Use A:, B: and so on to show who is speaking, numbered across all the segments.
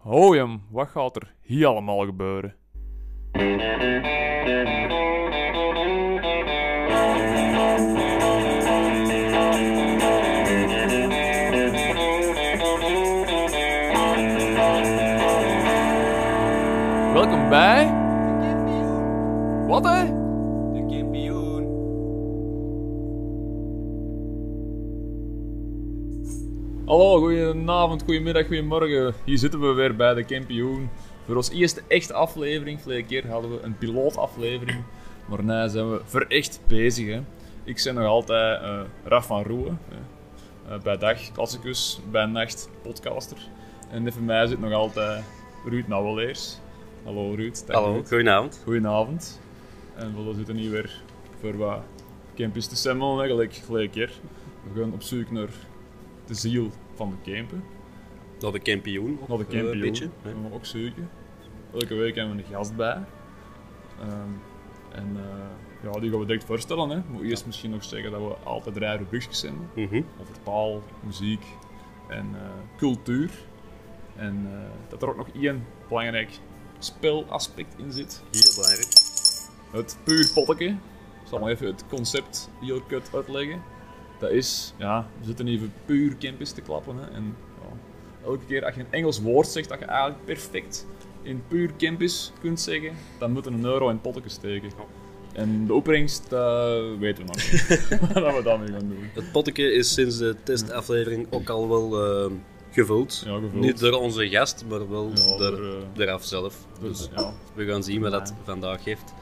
A: Hoi hem, wat gaat er hier allemaal gebeuren? Welkom bij. Wat hè?
B: De kampioen.
A: Hallo, goedenavond, goedemiddag, goedemorgen. Hier zitten we weer bij de kampioen. Voor onze eerste echte aflevering, vorige keer hadden we een pilootaflevering. Maar nu zijn we voor echt bezig. Hè. Ik ben nog altijd eh Raf van Roeven. hè. Eh, bij dag klassicus, bij nacht podcaster. En even mij zit nog altijd Ruud Nauweleers. Hallo Ruud. dag
B: Hallo,
A: Ruud.
B: goedenavond.
A: Goedenavond. En we zitten hier weer voor wat campus te semmelen, eigenlijk gelijk keer. We gaan op zoek naar de ziel van de campen.
B: Naar de kampioen.
A: Naar de
B: eh,
A: campioen.
B: Een beetje. hè.
A: gaan we ook zoeken. Elke week hebben we een gast bij. Ehm, en eh, ja, die gaan we direct voorstellen. Hè. Moet eerst misschien nog zeggen dat we altijd rare rubriekjes hebben.
B: Mhm.
A: Over taal, muziek en eh, cultuur. En eh, dat er ook nog één belangrijk spelaspect in zit.
B: Heel belangrijk.
A: Het puur potteke. Ik zal maar even het concept heel kut uitleggen. Dat is, ja, we zitten even puur campus te klappen. Hè, en ja, elke keer als je een Engels woord zegt dat je eigenlijk perfect in puur campus kunt zeggen, dan moet er een euro in potteke steken. En de opbrengst, dat weten we nog niet. Wat we daarmee gaan doen.
B: Het potteke is sinds de testaflevering ook al wel eh, gevuld.
A: Ja, gevuld.
B: Niet door onze gast, maar wel
A: Ja,
B: door,
A: door, eh,
B: door af zelf.
A: Dus
B: Dus
A: ja,
B: we gaan zien wat dat vandaag heeft.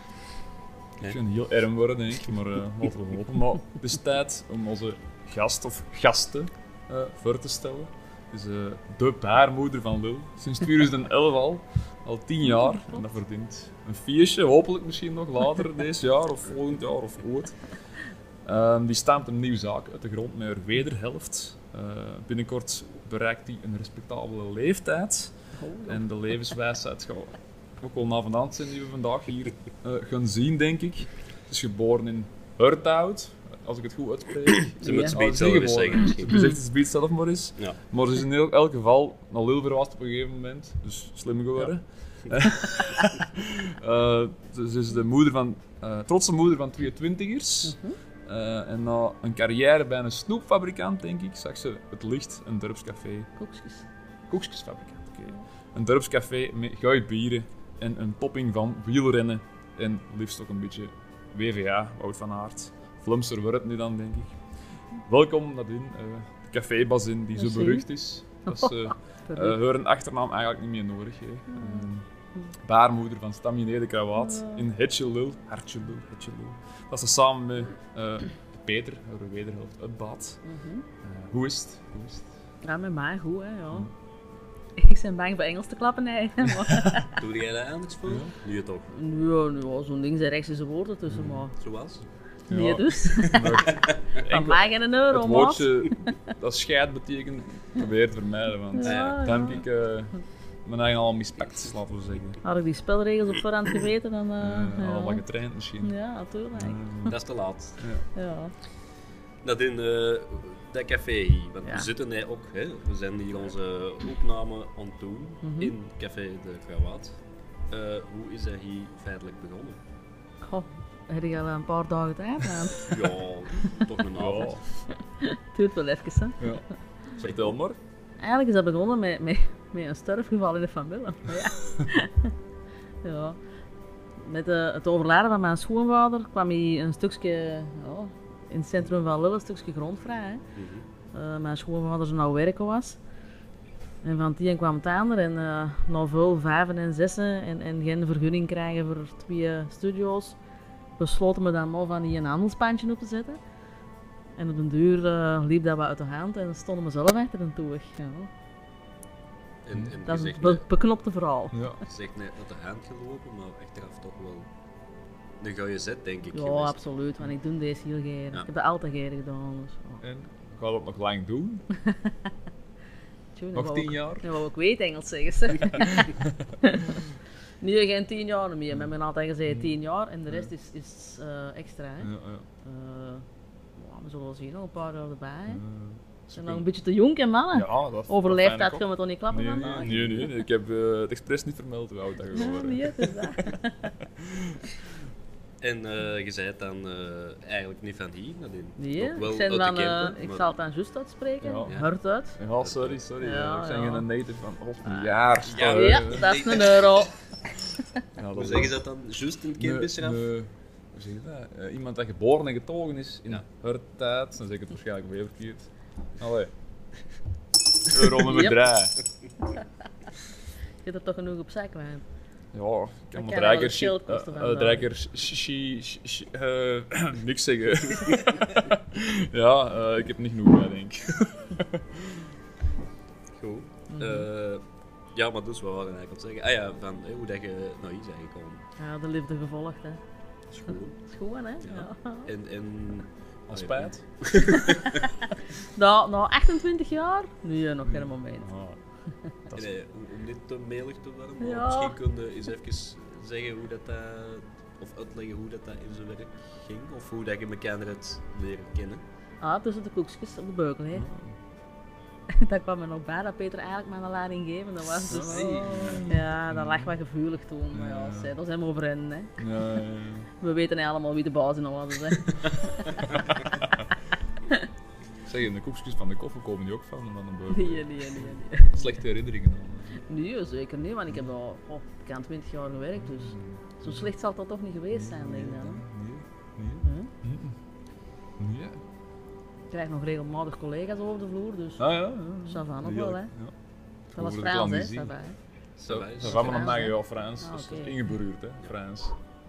A: ik vind het heel erm worden, denk ik, maar eh laten we hopen. Maar het is tijd om onze gast of gasten eh, voor te stellen. Het is eh, de baarmoeder van Lul, sinds 2011 al, al 10 jaar. En dat verdient een feestje, hopelijk misschien nog later deze jaar of volgend jaar of ooit. Ehm, die staamt een nieuw zaak uit de grond met haar wederhelft. Eh, binnenkort bereikt hij een respectabele leeftijd. En de levenswijsheid gaat ook wel na vandaan zijn die we vandaag hier eh, gaan zien, denk ik. Ze is geboren in Hurthout, als ik het goed uitspreek.
B: Ze moet
A: Ah,
B: Speed
A: is
B: zelf
A: niet geboren.
B: eens zeggen misschien.
A: Ze zegt het Speed zelf maar eens.
B: Ja.
A: Maar ze is in heel- elk geval naar Lul verwaasd op een gegeven moment, dus slim geworden. Eh, ze- ze is de moeder van, eh, trotse moeder van 22ers.
B: Mhm.
A: Eh, en na een carrière bij een snoepfabrikant, denk ik, zag ze het licht een dorpscafé.
C: Koekjes.
A: Eh. Koekjesfabrikant, oké. Een dorpscafé met gooi bieren en een topping van wielrennen en liefst ook een beetje WVA, Wout van Aert. Vlaamser wordt het nu dan, denk ik. Welkom, Nadine, eh de cafébazin die zo
C: Merci.
A: berucht is. Dat is eh, eh,
C: Pardon.
A: haar een achternaam eigenlijk niet meer nodig. Hè. Ehm, baarmoeder van Stamine de Krawaat in Hetjelul, Hartjelul, Hetjelul. Dat ze samen met eh, Peter, haar wederhelft, uitbaat.
C: Mhm.
A: Eh, hoe is het? Hoe is het?
C: Ja, met mij goed, hè, ja. Ik ben bang voor Engels te klappen, hè. Maar...
B: Doe jij dat anders voor? Nu het ook.
C: ja, nu, ja, zo'n ding zijn rechtse woorden tussen, maar...
B: Zoals?
C: Nee,
A: Mm. Ja.
C: dus. Van mij geen euro,
A: Het
C: maat.
A: woordje dat scheid betekent, probeer te vermijden, want
C: Ja,
A: dan
C: ja.
A: heb ik eh, mijn eigen al mispakt, laten we zeggen.
C: Had ik die spelregels op voorhand geweten, dan... eh,
A: Eh,
C: ja.
A: Al wat getraind misschien.
C: ja, natuurlijk.
A: Eh,
B: Dat is te laat.
C: Ja.
B: Dat in eh, dat café hier. Want
C: Ja.
B: we zitten hier ook. Hè. We zijn hier onze opname aan het doen
C: Mhm.
B: in Café de Krawaat. Eh, hoe is dat hier feitelijk begonnen?
C: Goh, heb je al een paar dagen tijd, man. Het
B: Ja, toch een avond.
A: ja,
C: duurt wel even, hè.
A: ja. Vertel maar.
C: Eigenlijk is dat begonnen met, met, met een sterfgeval in de familie. Ja. ja. Met eh, het overlijden van mijn schoonvader kwam hij een stukje, ja, in het centrum van Lille, een stukje grond vrij. Hè.
B: Mhm.
C: Eh, mijn schoonvader zijn nou werken was. En van die kwam het ander en eh na veel vijven en zessen en, en geen vergunning krijgen voor twee studio's, besloten we dan maar van die een handelspandje op te zetten. En op een duur eh, liep dat wat uit de hand en stonden we zelf achter een toeg. Ja.
B: En, en
C: Dat
B: je
C: is het
B: zegt,
C: be
B: net-
C: beknopte verhaal.
A: Ja.
B: je zegt net uit de hand gelopen, maar achteraf toch wel een goede zet, denk ik.
C: Ja,
B: geweest.
C: absoluut, want ik doe deze heel geren.
B: Ja.
C: Ik heb dat altijd geren gedaan. Dus, ja.
A: En ik ga dat nog lang doen.
C: Tjoe, dat
A: Nog
C: wou
A: tien
C: ik-
A: jaar.
C: Dat wou ik weten, Engels zeggen ze. nu geen tien jaar meer. We hebben altijd gezegd tien jaar en de rest is, is eh, extra. Hè.
A: Ja, ja.
C: Eh, ja, we zullen wel zien, nog een paar jaar erbij. hè.
A: Eh,
C: En dan een beetje te jonk, hè, mannen.
A: Ja, dat
C: Ah, Overleefd
A: dat
C: dat,
A: fijne
C: gaan we toch niet
A: kop.
C: klappen
A: Nee,
C: dan?
A: nee, nee, nee, nee, Ik heb eh, het expres niet vermeld hoe oud dat je
C: Ja,
A: wordt.
C: nee, het is dat.
B: En eh, je zei dan eh, eigenlijk niet van hier, maar die-
C: Nee,
B: ook wel
C: ik, zijn
B: uit
C: dan,
B: de camper,
C: eh, ik
B: maar-
C: zal het dan juist uitspreken.
A: Ja.
C: Hard uit.
A: Ja, sorry, sorry.
C: Ja,
A: eh, ik ben
C: ja. Ah.
A: geen native van of een jaar.
B: Ja,
A: Eh,
C: Ja,
A: ja,
C: dat is een euro.
A: dat
B: Hoe
A: is-
B: zeggen ze dat dan? Juist een
A: Nee,
B: kind is eraf?
A: nee, Hoe zeg je dat? Eh, iemand dat geboren en getogen is in
B: Ja.
A: haar tijd, dan zeg ik het waarschijnlijk weer verkeerd. Allee. Euro nummer
C: Yep.
A: 3.
C: Je hebt er toch genoeg op zak, man.
A: Ja, ik kan
C: kan
A: maar
C: wel
A: drie
C: een
A: keer
C: verschil
A: shit.
C: kosten van
A: eh,
C: dat.
A: Drie keer shi- shi- shi- shi- eh, niks zeggen. ja, eh, ik heb niet genoeg bij, denk ik.
B: Goed.
C: Mhm.
B: Eh, ja, maar dus, wat waren we eigenlijk aan het zeggen? Ah ja, van eh, hoe dat je naar hier bent gekomen.
C: Ja, de liefde gevolgd, hè.
B: School.
C: Dat is gewoon, hè.
B: Ja.
C: Ja.
B: En, en...
A: Al spijt.
C: Nou, nou, 28 jaar? Nee, nog geen moment.
A: Ah, dat is-
B: En, eh, om, om niet te melig te worden, maar
C: Ja.
B: misschien kun je eens even zeggen hoe dat, dat... Of uitleggen hoe dat, dat in zijn werk ging, of hoe dat je elkaar het leren kennen.
C: Ah, tussen de koekjes op de beukel, hè. Dat kwam er nog bij dat Peter eigenlijk mijn leidinggevende was. Dus... Ja, dat lag wel gevoelig toen. Maar ja,
A: Ja.
C: zei, daar zijn we over in, hè.
A: Ja, ja, ja.
C: We weten niet allemaal wie de baas in alles is, hè.
A: Zeg, in de koekjes van de koffer komen die ook van, van een beugel.
C: Nee, nee, nee, nee.
A: Slechte herinneringen dan.
C: Nee, eh, zeker niet, want ik heb al oh, ik heb 20 jaar gewerkt, dus zo slecht zal dat toch niet geweest zijn, denk ik dan. hè.
A: Nee, nee.
C: Hm?
A: Mm-mm. Nee.
C: Ik krijg nog regelmatig collega's over de vloer, dus
A: Ah ja, ja.
C: ça va nog
A: Heerlijk,
C: wel, hè.
A: ja.
C: Dat was
A: Over de
C: Frans, hè,
A: klandizie.
C: ça va, hè.
A: Zo,
B: Zo,
A: zo
B: zo
A: gaan we nog
C: Frans,
A: naar
C: hè?
A: jou, Frans.
C: Ah,
A: Dat is
C: oké.
A: ingeberuurd, hè, Frans.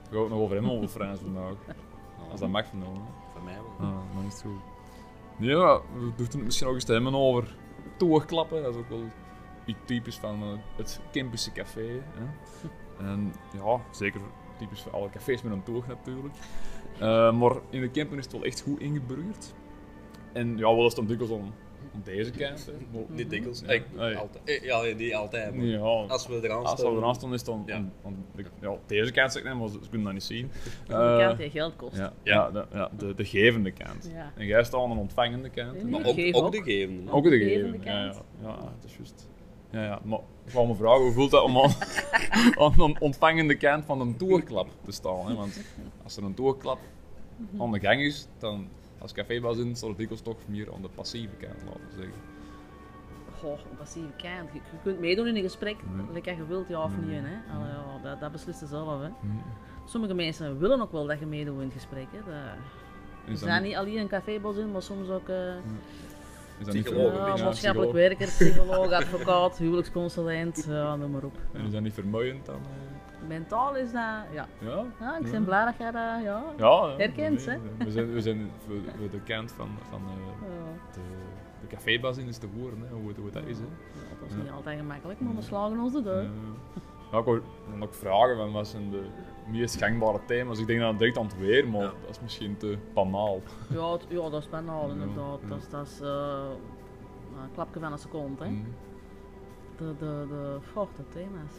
A: We gaan ook nog over hem over Frans vandaag. Als dat mag vandaag. hè.
B: Van mij wel.
A: Ah, dan is het goed. Ja, we doen het misschien ook eens te hebben over toeklappen. Dat is ook wel iets typisch van eh, het Kempische café. Hè. En ja, zeker typisch voor alle cafés met een toog natuurlijk. Eh, maar in de Kempen is het wel echt goed ingeburgerd. En ja, wel is het dan dikwijls om, om deze kant. Hè. Maar-
C: Mhm.
B: Niet dikwijls.
A: Ja.
B: Eh,
A: Nee.
B: altijd. Eh, Ja, nee, niet altijd, maar
A: Ja,
B: als we eraan
A: Als dat
B: staan-
A: eraan stond, is het dan.
B: Ja.
A: dan- dan- de- ja, deze kant zeg ik net, maar ze ze kunnen dat niet zien.
C: Aan de
A: Eh,
C: kant die geld kost.
A: ja, ja, de, ja, de, de gevende kant.
C: Ja.
A: En jij staat aan de ontvangende kant.
C: Nee,
A: Maar
B: Maar
C: Ik
A: ook,
B: ook,
C: geef
B: ook
C: ook.
B: de gevende. hè?
A: ook
C: de
A: de
C: gevende
A: gevende. Ja, ja,
C: kant.
A: ja, dat is juist. Ja, ja, maar ik wou me vragen, hoe voelt dat om aan, aan de ontvangende kant van een toerklap te staan? Hè? Want als er een toerklap
C: Mhm.
A: aan de gang is, dan als cafébaas in, zal het dikwijls toch meer aan de passieve kant, laten we zeggen.
C: Goh, een passieve kind. Je, je kunt meedoen in een gesprek,
A: Mm.
C: lekker je wilt, ja of
A: Mhm.
C: niet. Hè? Allee, ja, dat, dat beslist ze zelf. Hè?
A: Mm.
C: Sommige mensen willen ook wel dat je meedoet in het gesprek. Hè? Dat,
A: Is
C: ze zijn niet alleen een cafébos in, maar soms ook eh
A: Mhm. is dat niet vermoeiend?
B: Psycholoog,
C: ja,
B: een beetje,
A: psycholoog.
C: maatschappelijk werker, psycholoog, advocaat, huwelijksconsulent, ja, noem maar op.
A: En is dat niet vermoeiend dan? eh?
C: Mentaal is dat, ja.
A: Ja?
C: ja ik
A: Ja.
C: ben blij dat jij dat, ja.
A: Ja, ja.
C: Herkent, hè?
A: We zijn, we zijn voor, voor de kant van, van eh,
C: Ja,
A: de, de cafébas in is te horen, hè, hoe, het- hoe dat is. Hè.
C: dat is
A: Ja.
C: niet altijd gemakkelijk, maar we slagen ons de deur.
A: Eh, ja, ik wou dan ook vragen van wat zijn de meest gangbare thema's. Ik denk dat het direct aan het weer, maar
B: Ja.
A: dat is misschien te banaal.
C: Ja, het- ja, dat is banaal
A: Ja,
C: inderdaad.
A: ja.
C: Dat is, dat is eh, een klapje van een seconde. Hè.
A: Mm.
C: De, de, de, goh, de thema's.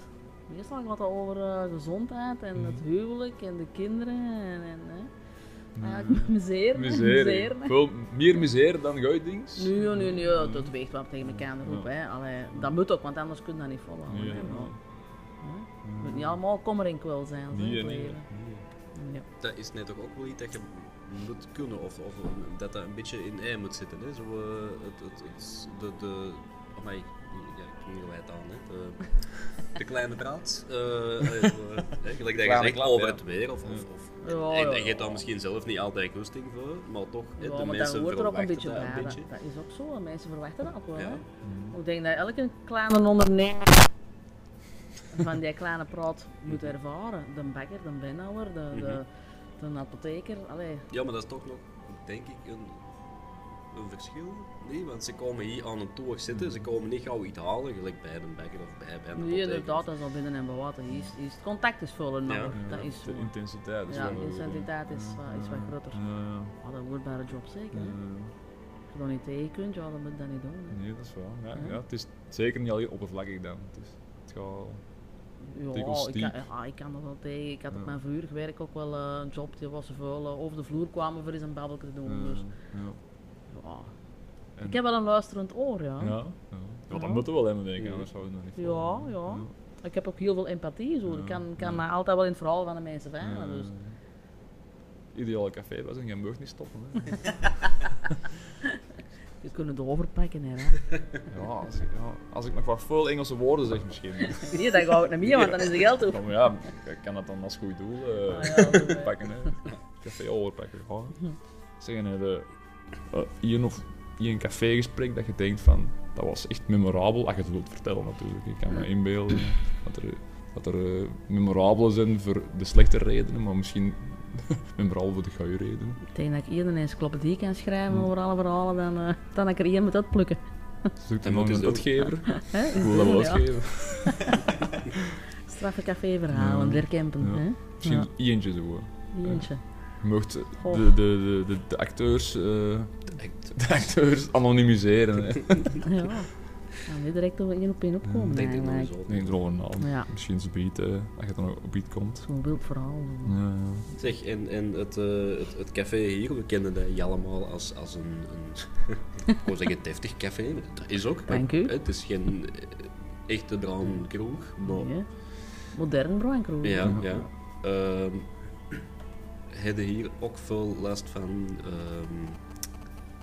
C: Meestal gaat het over eh, gezondheid en
A: Mhm.
C: het huwelijk en de kinderen en, en hè.
A: Mhm.
C: eigenlijk miseren.
A: Miserie.
C: miseren.
A: Veel meer misère dan Mm. goudings.
C: Nu, nu, nu, dat weegt wel tegen elkaar op.
A: Mhm. Ja.
C: Hè. Allee, dat moet ook, want anders kun je dat niet volhouden.
A: Nee,
C: hè, maar,
A: ja. Mhm.
C: hè.
A: Mm.
C: Het moet niet allemaal kommer en kwel zijn. zo,
A: Nee,
C: het
A: nee,
C: leven. Ja.
B: Dat is net toch ook wel iets dat je moet kunnen, of, of dat dat een beetje in ei moet zitten. Hè? Zo, eh, het, het, het, de, de, amai, ja, ik kneel het aan, hè? De, de kleine draad. eh, eh, zo, eh, hè, gelijk dat je
A: Kleine
B: zegt,
A: klap,
B: over
A: ja.
B: het weer, of, of, of
C: Ja,
B: en-
C: ja,
B: en, je
C: ja.
B: hebt daar misschien zelf niet altijd goesting voor, maar toch, hè,
C: Ja,
B: de
C: maar dat
B: mensen
C: hoort er ook
B: verwachten
C: een beetje
B: dat
C: bij.
B: een
C: Dat,
B: beetje.
C: dat is ook zo. en Mensen verwachten dat ook wel.
B: Ja.
C: hè. Ik denk dat elke kleine ondernemer van die kleine praat moet ervaren. De bakker, de binnenhouwer, de, de,
A: Mhm.
C: de apotheker. Allee,
B: Ja, maar dat is toch nog, denk ik, een, een verschil. Nee, want ze komen hier aan een toer zitten, ze komen niet gauw iets halen, gelijk bij de bekker of bij, bij een
C: nee,
B: apotheker.
C: inderdaad, dat is al binnen en bewaten. Hier is, hier is het contact is veel
B: Ja.
C: nauwer.
A: Ja,
C: dat is zo.
A: de intensiteit. is
C: Ja,
A: wel
C: de
A: weer, hè.
C: intensiteit is, wat- is wat groter.
A: Ja,
C: Ah, dat wordt bij de job zeker.
A: ja,
C: hè.
A: ja.
C: Als je dat niet tegen kunt, ja, dan moet je dat niet doen. hè.
A: Nee, dat is waar. Ja, ja, het is zeker niet alleen oppervlakkig dan. Het, is, het gaat... Dikwijls
C: Ja, ik kan,
A: diep.
C: ja, ik kan er wel tegen. Ik had op
A: Ja.
C: mijn vuur werk ook wel eh, een job die was veel eh, over de vloer kwamen voor eens een babbelje te doen. Dus
A: ja.
C: ja,
A: En-
C: Ik heb wel een luisterend oor, ja.
A: Ja, ja. ja dat
C: Ja.
A: moeten we wel hebben, denk ik.
B: Ja.
A: Anders zouden we het nog niet
C: Ja,
A: volgen.
C: ja. Ik heb ook heel veel empathie, zo.
A: Ja,
C: Ik kan,
A: ja.
C: kan me altijd wel in het verhaal van de mensen vinden.
A: Ja.
C: Dus.
A: Eh, Ideale café was en je mag niet stoppen. Hè.
C: Je kunt het overpakken, hè. Ra.
A: ja, als ik, ja, als ik nog wat veel Engelse woorden zeg misschien.
C: Nee, dat ga ik niet meer, want dan is het geld op.
A: Ja, maar ja, ik kan dat dan als goed doel eh,
C: Ah, ja, dat is
A: pakken. Hè. Café overpakken. Ja. Zeggen, hè, de, eh, hier of hier een cafégesprek dat je denkt van, dat was echt memorabel. Als je het wilt vertellen natuurlijk. Ik kan me inbeelden dat er, dat er eh, memorabele zijn voor de slechte redenen, maar misschien memorabel voor de goede redenen.
C: Ik denk dat ik eerder een encyclopedie kan schrijven
A: Hmm.
C: over alle verhalen dan, eh, dan ik er één moet uitplukken.
A: Zoek dan
B: Dan
A: nog
B: moeten
A: een
B: ze ook-
A: uitgever.
C: Hè? Is
A: Ik wil dat wel
C: het zo, ja.
A: uitgeven.
C: Straffe caféverhalen,
A: Ja.
C: Dirk Kempen.
A: Ja.
C: hè?
A: Misschien eentje zo.
C: Eentje.
A: Je mocht de,
C: Goh.
A: de, de, de, de acteurs, eh, de acteurs anonimiseren. Hè.
C: Ja. Nou, nu direct over één op één opkomen.
B: Ik denk dat
C: eigenlijk.
B: sowieso.
A: Nee, erover na.
C: Ja,
A: Misschien zo'n beat, eh, als je dan op beat komt.
C: zo'n wild verhaal. zo.
A: Ja, ja.
B: Zeg, en, en het, eh, het, het café hier, we kennen dat allemaal als, als een, een ik wou zeggen deftig café, maar dat is ook. maar
C: Dank u.
B: Het is geen eh, echte draankroeg, maar
C: Ja. Modern bruinkroeg.
B: ja, ja. Ehm Hebben hier ook veel last van ehm,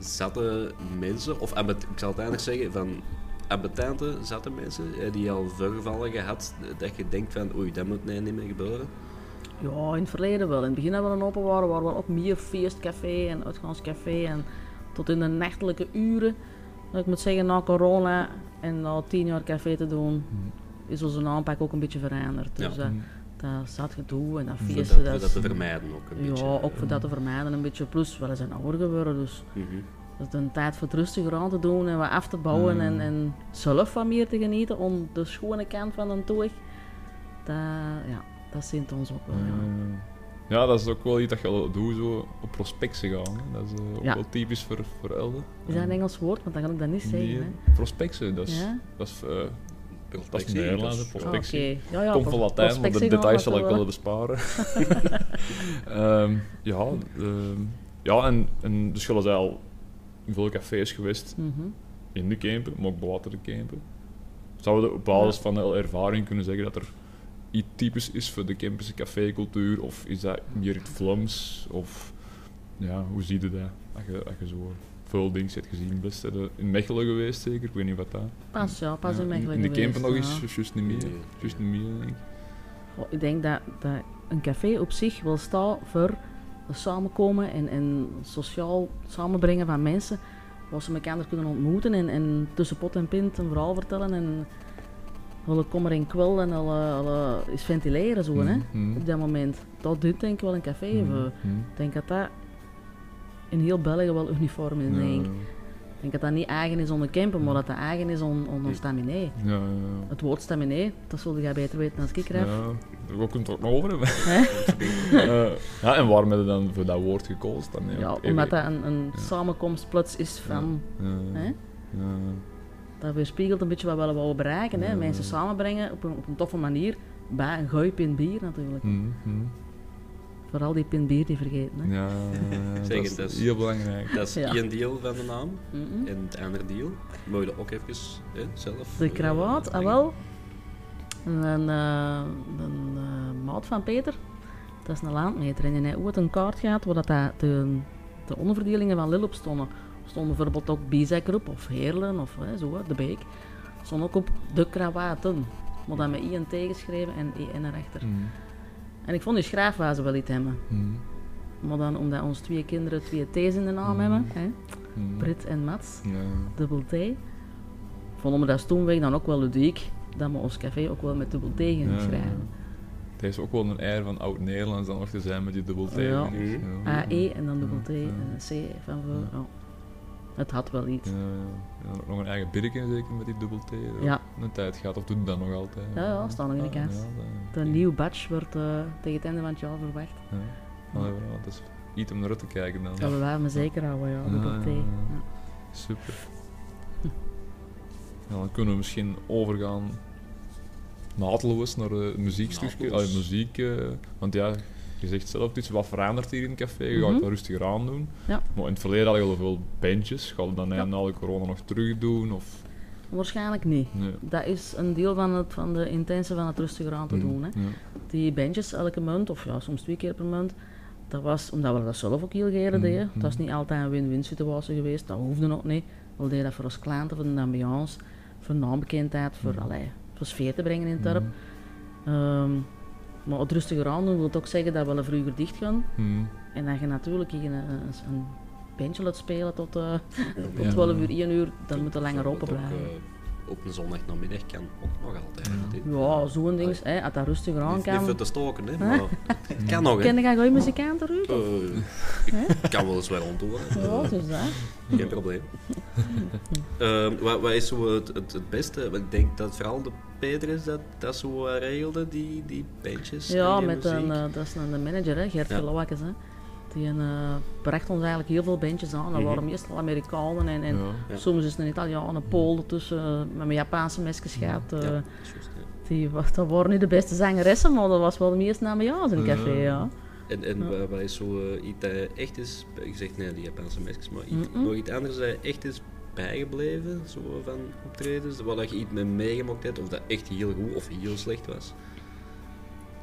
B: zatte mensen, of ambet- ik zal het anders zeggen, van ambetante zatte mensen, eh, die al voorvallen gehad, dat je denkt van oei, dat moet nee niet meer gebeuren.
C: Ja, in het verleden wel. In het begin hebben we een open waren, waren we ook meer feestcafé en uitgaanscafé en tot in de nachtelijke uren. Maar Ik moet zeggen, na corona en na tien jaar café te doen,
A: Mm,
C: is onze aanpak ook een beetje veranderd. Dus
B: Ja.
C: eh, dat zat gedoe en dat
B: Dat,
C: feesten,
B: dat,
C: dat,
B: dat te vermijden ook een
C: ja,
B: beetje. eh,
C: ook voor dat te vermijden een beetje. Plus, we zijn ouder geworden, dus
B: Mhm.
C: dat is een tijd voor het rustiger aan te doen en wat af te bouwen
A: Mm.
C: en, en zelf van meer te genieten om de schone kant van een toeg. Dat, ja, dat zint ons op. wel, ja.
A: eh, Ja, dat is ook wel iets dat je al doet, zo op prospecten gaan. Hè. Dat is eh, ook
C: Ja.
A: wel typisch voor, voor Elden.
C: Is dat een Engels woord? Want dan kan ik dat niet zeggen.
A: Nee,
C: hè.
A: Prospecten, dat is...
C: Ja?
A: Dat is eh, dat is
B: Prospectie,
A: Nederlands,
B: dus-
A: hè,
C: Ah, Oké.
A: prospectie.
C: Ja, ja,
A: Komt van
C: pros-
A: Latijn, maar de
C: prospectie
A: details zal
C: gewoon
A: ik
C: laten
A: wel besparen. Ehm, ja, ehm, ja en, en dus jullie zijn al in veel cafés geweest
C: we- Mhm.
A: in de campen, maar ook buiten de campen. Zouden we op basis van de ervaring kunnen zeggen dat er iets typisch is voor de Kempische cafécultuur? Of is dat meer het Vlaams? Of ja, hoe zie je dat? Als je, als je zo veel dingen hebt gezien, best hè. De- in Mechelen geweest zeker, ik weet niet wat dat.
C: Pas, ja, pas
A: Ja,
C: in mijn
A: in de campen nog eens,
C: ja.
A: juist niet meer. Juist niet meer, denk ik.
C: Goh, Ik denk dat, dat een café op zich wil staan voor het samenkomen en, en sociaal samenbrengen van mensen. Waar ze elkaar kunnen ontmoeten en, en tussen pot en pint een verhaal vertellen. En alle kommer en kwel en alle, alle is ventileren zo, hè.
A: Mhm.
C: Op dat moment. Dat doet denk ik wel een café. voor.
A: Mhm.
C: Ik denk dat dat in heel België wel uniform is, denk ik.
A: Ja,
C: Ik denk dat dat niet eigen is onder Kempen, maar dat dat eigen is on, on ons staminé.
A: ja, ja.
C: Het woord staminé, dat zul jij beter weten dan ik, Raf.
A: Ja, we kunnen het ook nog over hebben. Eh, ja, en waarom hebben we dan voor dat woord gekozen? Dan,
C: Ja,
A: Even-
C: omdat dat een, een
A: Ja.
C: samenkomstplaats is van...
A: Ja,
C: Hè?
A: ja,
C: Dat weerspiegelt een beetje wat we willen bereiken. Hè?
A: Ja.
C: Mensen samenbrengen op een, op een toffe manier. Bij een gooi pint bier natuurlijk.
A: mhm, mhm.
C: Vooral die pint bier die vergeten. Hè?
A: Ja, ja, dat
B: Zeg,
A: is
B: dat is-
A: heel belangrijk.
B: Dat is
C: Ja.
B: één deel van de naam.
C: Mhm.
B: En het andere deel, moet je dat ook even hè, zelf...
C: De
B: eh,
C: krawaat, ah
B: brengen.
C: wel. Een, eh een eh, maat van Peter, dat is een landmeter. En die heeft ooit een kaart gehad waar dat daar de, de onderverdelingen van Lille op stonden. Er stonden bijvoorbeeld ook Bizekrup of Heerlen of eh, zo, hè, de Beek. Er Stonden ook op de krawaten. Maar dan met I en T geschreven en EN erachter.
A: Mhm,
C: En ik vond die schrijfwijze wel iets hebben.
A: mhm,
C: Maar dan omdat onze twee kinderen twee T's in de naam
A: Mm.
C: hebben, hè,
A: mhm.
C: Brit en Mats
A: Ja,
C: dubbel T. Vonden we dat stoomweg dan ook wel ludiek, dat we ons café ook wel met dubbel T
A: ja,
C: gaan
A: ja.
C: schrijven.
A: Het is ook wel een air van oud-Nederlands dan nog te zijn met die dubbel T.
C: Ja.
A: denk ik. Ja.
C: AE E en dan dubbel T eh.
A: Ja, ja.
C: en een C van voor.
A: Ja.
C: ja. Het had wel iets.
A: Ja, ja. En dan ook nog een eigen birken zeker met die dubbel T. eh,
C: Ja.
A: Een tijd gaat, of doet het dat nog altijd? Ah,
C: Ja, ja, staan nog in de kast.
A: dat-
C: De nieuw batch wordt eh, tegen het einde van het jaar verwacht.
A: Ja. Allee, voilà, dat is iets om naar uit te kijken dan.
C: Dat we wel me zeker houden, ja,
A: Ja,
C: dubbel T.
A: ja, ja.
C: Ja. Hm.
A: Super. Ja, dan kunnen we misschien overgaan naadloos naar eh, het muziekstukje.
B: Naadloos.
A: Allee, muziek. eh, want ja, je zegt zelf iets, wat verandert hier in het café? Je gaat
C: Mhm.
A: het rustiger aan doen.
C: Ja.
A: Maar in het verleden had je al veel bandjes. Ga je dat
C: Ja.
A: na de corona nog terug doen? Of...
C: Waarschijnlijk niet.
A: Nee.
C: Dat is een deel van, het, van de intense van het rustiger aan te doen. Hè.
A: Mm, Ja.
C: Die bandjes elke maand, of ja, soms twee keer per maand, dat was omdat we dat zelf ook heel graag deden.
A: Mhm.
C: Dat is niet altijd een win-win situatie geweest, dat hoefde ook niet. We deden dat voor ons klanten, voor de ambiance, voor naambekendheid, voor,
A: Mhm.
C: allee, voor sfeer te brengen in het dorp.
A: Mhm.
C: Ehm, maar het rustiger aan doen wil ook zeggen dat we wel vroeger dicht gaan.
A: Mhm.
C: En dat je natuurlijk hier een, een, een bandje laat spelen tot, eh, tot
A: Ja.
C: 12 uur, 1 uur, dan moet je langer
B: Zodat
C: open
B: ook,
C: blijven.
B: eh, op een zondagnamiddag kan ook nog altijd. Dit-
C: Ja, zo'n ding. Hè, als dat rustiger aan
B: Niet, niet
C: kan.
B: veel te stoken, hè, maar het kan nog. Hè.
C: Ken je goeie muzikant terug?
B: Eh,
C: Hè?
B: ik kan wel eens wel ontdoen.
C: Ja, het is dat.
B: Geen probleem. Ehm, wat, wat is zo het, het, het beste? Want Ik denk dat vooral de Peter is dat, dat zo wat regelde, die, die bandjes.
C: Ja,
B: en die
C: met een,
B: muziek.
C: eh, dat is een een manager, hè, Gert
B: Ja.
C: Gelowakes. hè. Die een, eh, bracht ons eigenlijk heel veel bandjes aan. Dat
B: Mhm.
C: waren meestal Amerikanen en, en
A: Ja.
B: Ja.
C: soms is het een Italiaan, een Pool ertussen. eh, Met mijn Japanse mesjes gehad. eh,
B: Ja, dat is juist, ja.
C: die, wa- dat waren niet de beste zangeressen, maar dat was wel de meeste ambiance in het café.
A: Ja.
C: Ja.
B: En, en
C: Ja.
B: wa- wat is zo eh, iets dat echt is, ik zeg nee, die Japanse mesjes, maar iets,
C: Mhm.
B: nog iets anders dat echt is bijgebleven, zo van optredens, waar dat je iets mee meegemaakt hebt, of dat echt heel goed of heel slecht was.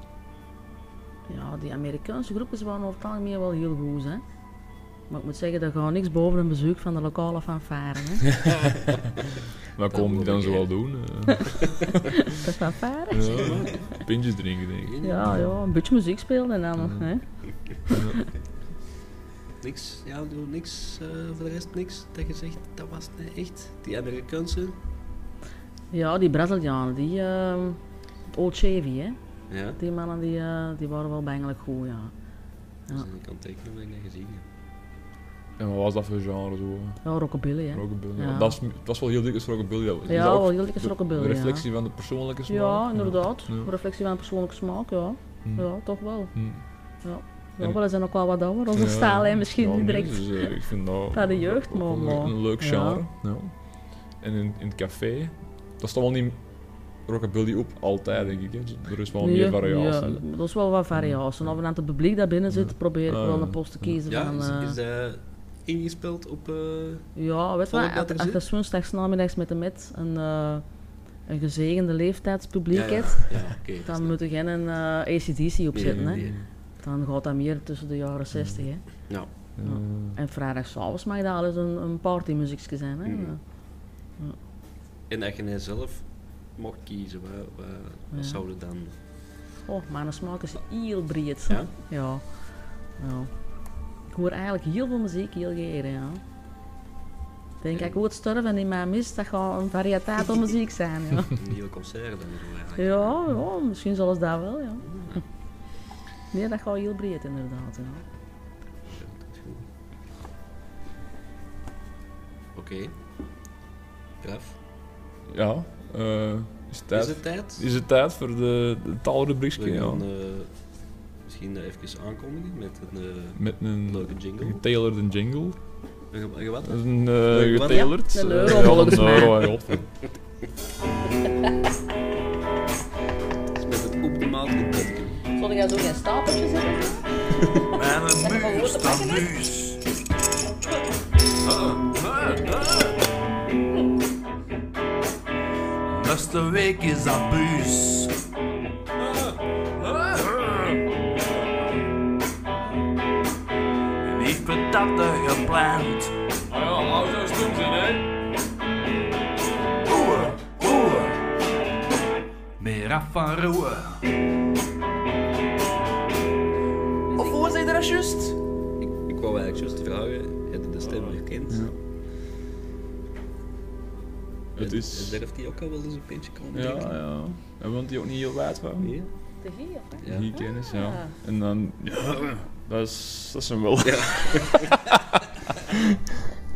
C: ja, die Amerikaanse groepjes waren over het algemeen wel heel goed. Hè. Maar ik moet zeggen, dat gaat niks boven een bezoek van de lokale fanfaren. Hè.
A: Wat komen die
B: wil
A: dan
B: ik
A: zo wel doen? eh?
C: de fanfare.
A: ja. Pintjes drinken, denk ik.
C: Ja, ja, een beetje muziek spelen en dan.
A: Ja.
C: Hè?
B: Niks, ja, doe niks, eh, voor de rest niks, dat je zegt, dat was niet echt. Die Amerikaanse,
C: Ja, die Brazilianen, die ehm, Old Chevy, hè?
B: ja,
C: die mannen die, eh, die waren wel bengelijk goed, ja.
B: dat is een kanttekening dat Dus ik niet gezien heb.
A: En wat was dat voor genre zo?
C: Ja, rockabilly, hè.
A: Rockabilly.
C: Ja.
A: Want Dat is, het was wel heel dikwijls rockabilly. dat was. Is
C: Ja,
A: dat ook
C: wel heel dikwijls
A: de-
C: rockabilly,
A: De
C: ja.
A: reflectie van de persoonlijke smaak.
C: Ja, inderdaad.
A: Ja.
C: Reflectie van persoonlijke smaak, ja.
A: Hm.
C: Ja, toch wel.
A: Hm.
C: Ja,
A: En-
C: wel, zijn ook wel wat ouder. Onze
A: Ja.
C: staal, hè, misschien
A: Ja,
C: niet
A: nee,
C: direct.
A: dus, eh, ik vind dat,
C: naar de jeugd,
A: ook
C: maar-
A: wel
C: maar-
A: Een leuk
C: ja.
A: genre. ja. En in, in het café, dat is toch wel niet rockabilly op altijd, denk ik. Hè. Dus Er is wel
C: Nee,
A: meer variatie. hè.
C: Ja, dat is wel wat variatie. En Als we aan het publiek dat binnen zit, probeer ik
A: Ah,
C: wel
A: ja.
C: een post te kiezen
B: Ja,
C: van...
B: is,
C: eh,
B: is dat ingespeeld op, eh,
C: Ja, weet je
B: Volk
C: wat,
B: dat er
C: als- als
B: zit?
C: je woensdags namiddags met de met een, eh, een gezegende leeftijdspubliek
B: ja,
C: hebt,
B: ja, ja, oké. dus dat
C: dan
B: snap
C: moet je geen eh, ACDC opzetten.
B: Nee, Mm.
C: hè.
B: nee.
C: Dan gaat dat meer tussen de jaren 60. Hè.
B: ik. Nou,
A: Ja.
C: En vrijdagavond mag dat al eens een, een partymuziekje zijn. Hè.
B: Mhm. En dat je net zelf mocht kiezen, wat, wat, wat
C: Ja.
B: zouden dan...
C: Oh, mijn smaak is heel breed.
B: Ja?
C: ja. Ja. Ik hoor eigenlijk heel veel muziek heel graag, ja. Ik denk,
B: Ja.
C: ik hoor het sterven in mijn mist, dat gaat een variëteit aan muziek zijn, ja.
B: Een heel concert dan zo eigenlijk.
C: Ja, ja, misschien zelfs dat wel, ja. Nee, dat gaat heel breed inderdaad, ja.
B: Oké. Graf.
A: Ja, eh, is, het tijd,
B: Is het tijd?
A: is het tijd voor de, de taalrubriekje?
B: We
A: Ja.
B: gaan eh, misschien eh, even aankondigen met een eh,
A: Met een
B: leuke jingle.
A: getalerde jingle.
B: Een ge- een gewat.
A: Een
B: Leuk,
A: eh
B: wat?
A: getailerd.
C: Ja, een
A: eh,
C: euro
A: ja,
C: volgens
A: een
C: mij.
A: euro, ja, godver-
B: is met het op de maat gekomen.
C: Zal jij zo geen stapeltje zetten?
D: Mijn
C: wel
D: muur
C: goed te
D: staat
C: pakken, hè?
D: muus. Ah, ah, ah. Beste week is dat buus. Ah, ah, ah. Lief patatten gepland. Oeh, oeh. Meer af van roeien. Of hoe zei je dat juist?
B: Ik wou eigenlijk juist vragen, heb je de
A: Ah,
B: stem herkend?
A: Het
B: En
A: is...
B: durft hij ook al wel eens een pintje komen
A: Ja,
B: drinken?
A: ja. En want die ook niet heel wijd waren.
B: Nee?
C: De hier, hè?
B: Ja.
A: Die kennis, ja.
C: Ah.
A: En dan... Ja, dat is... Dat is hem wel.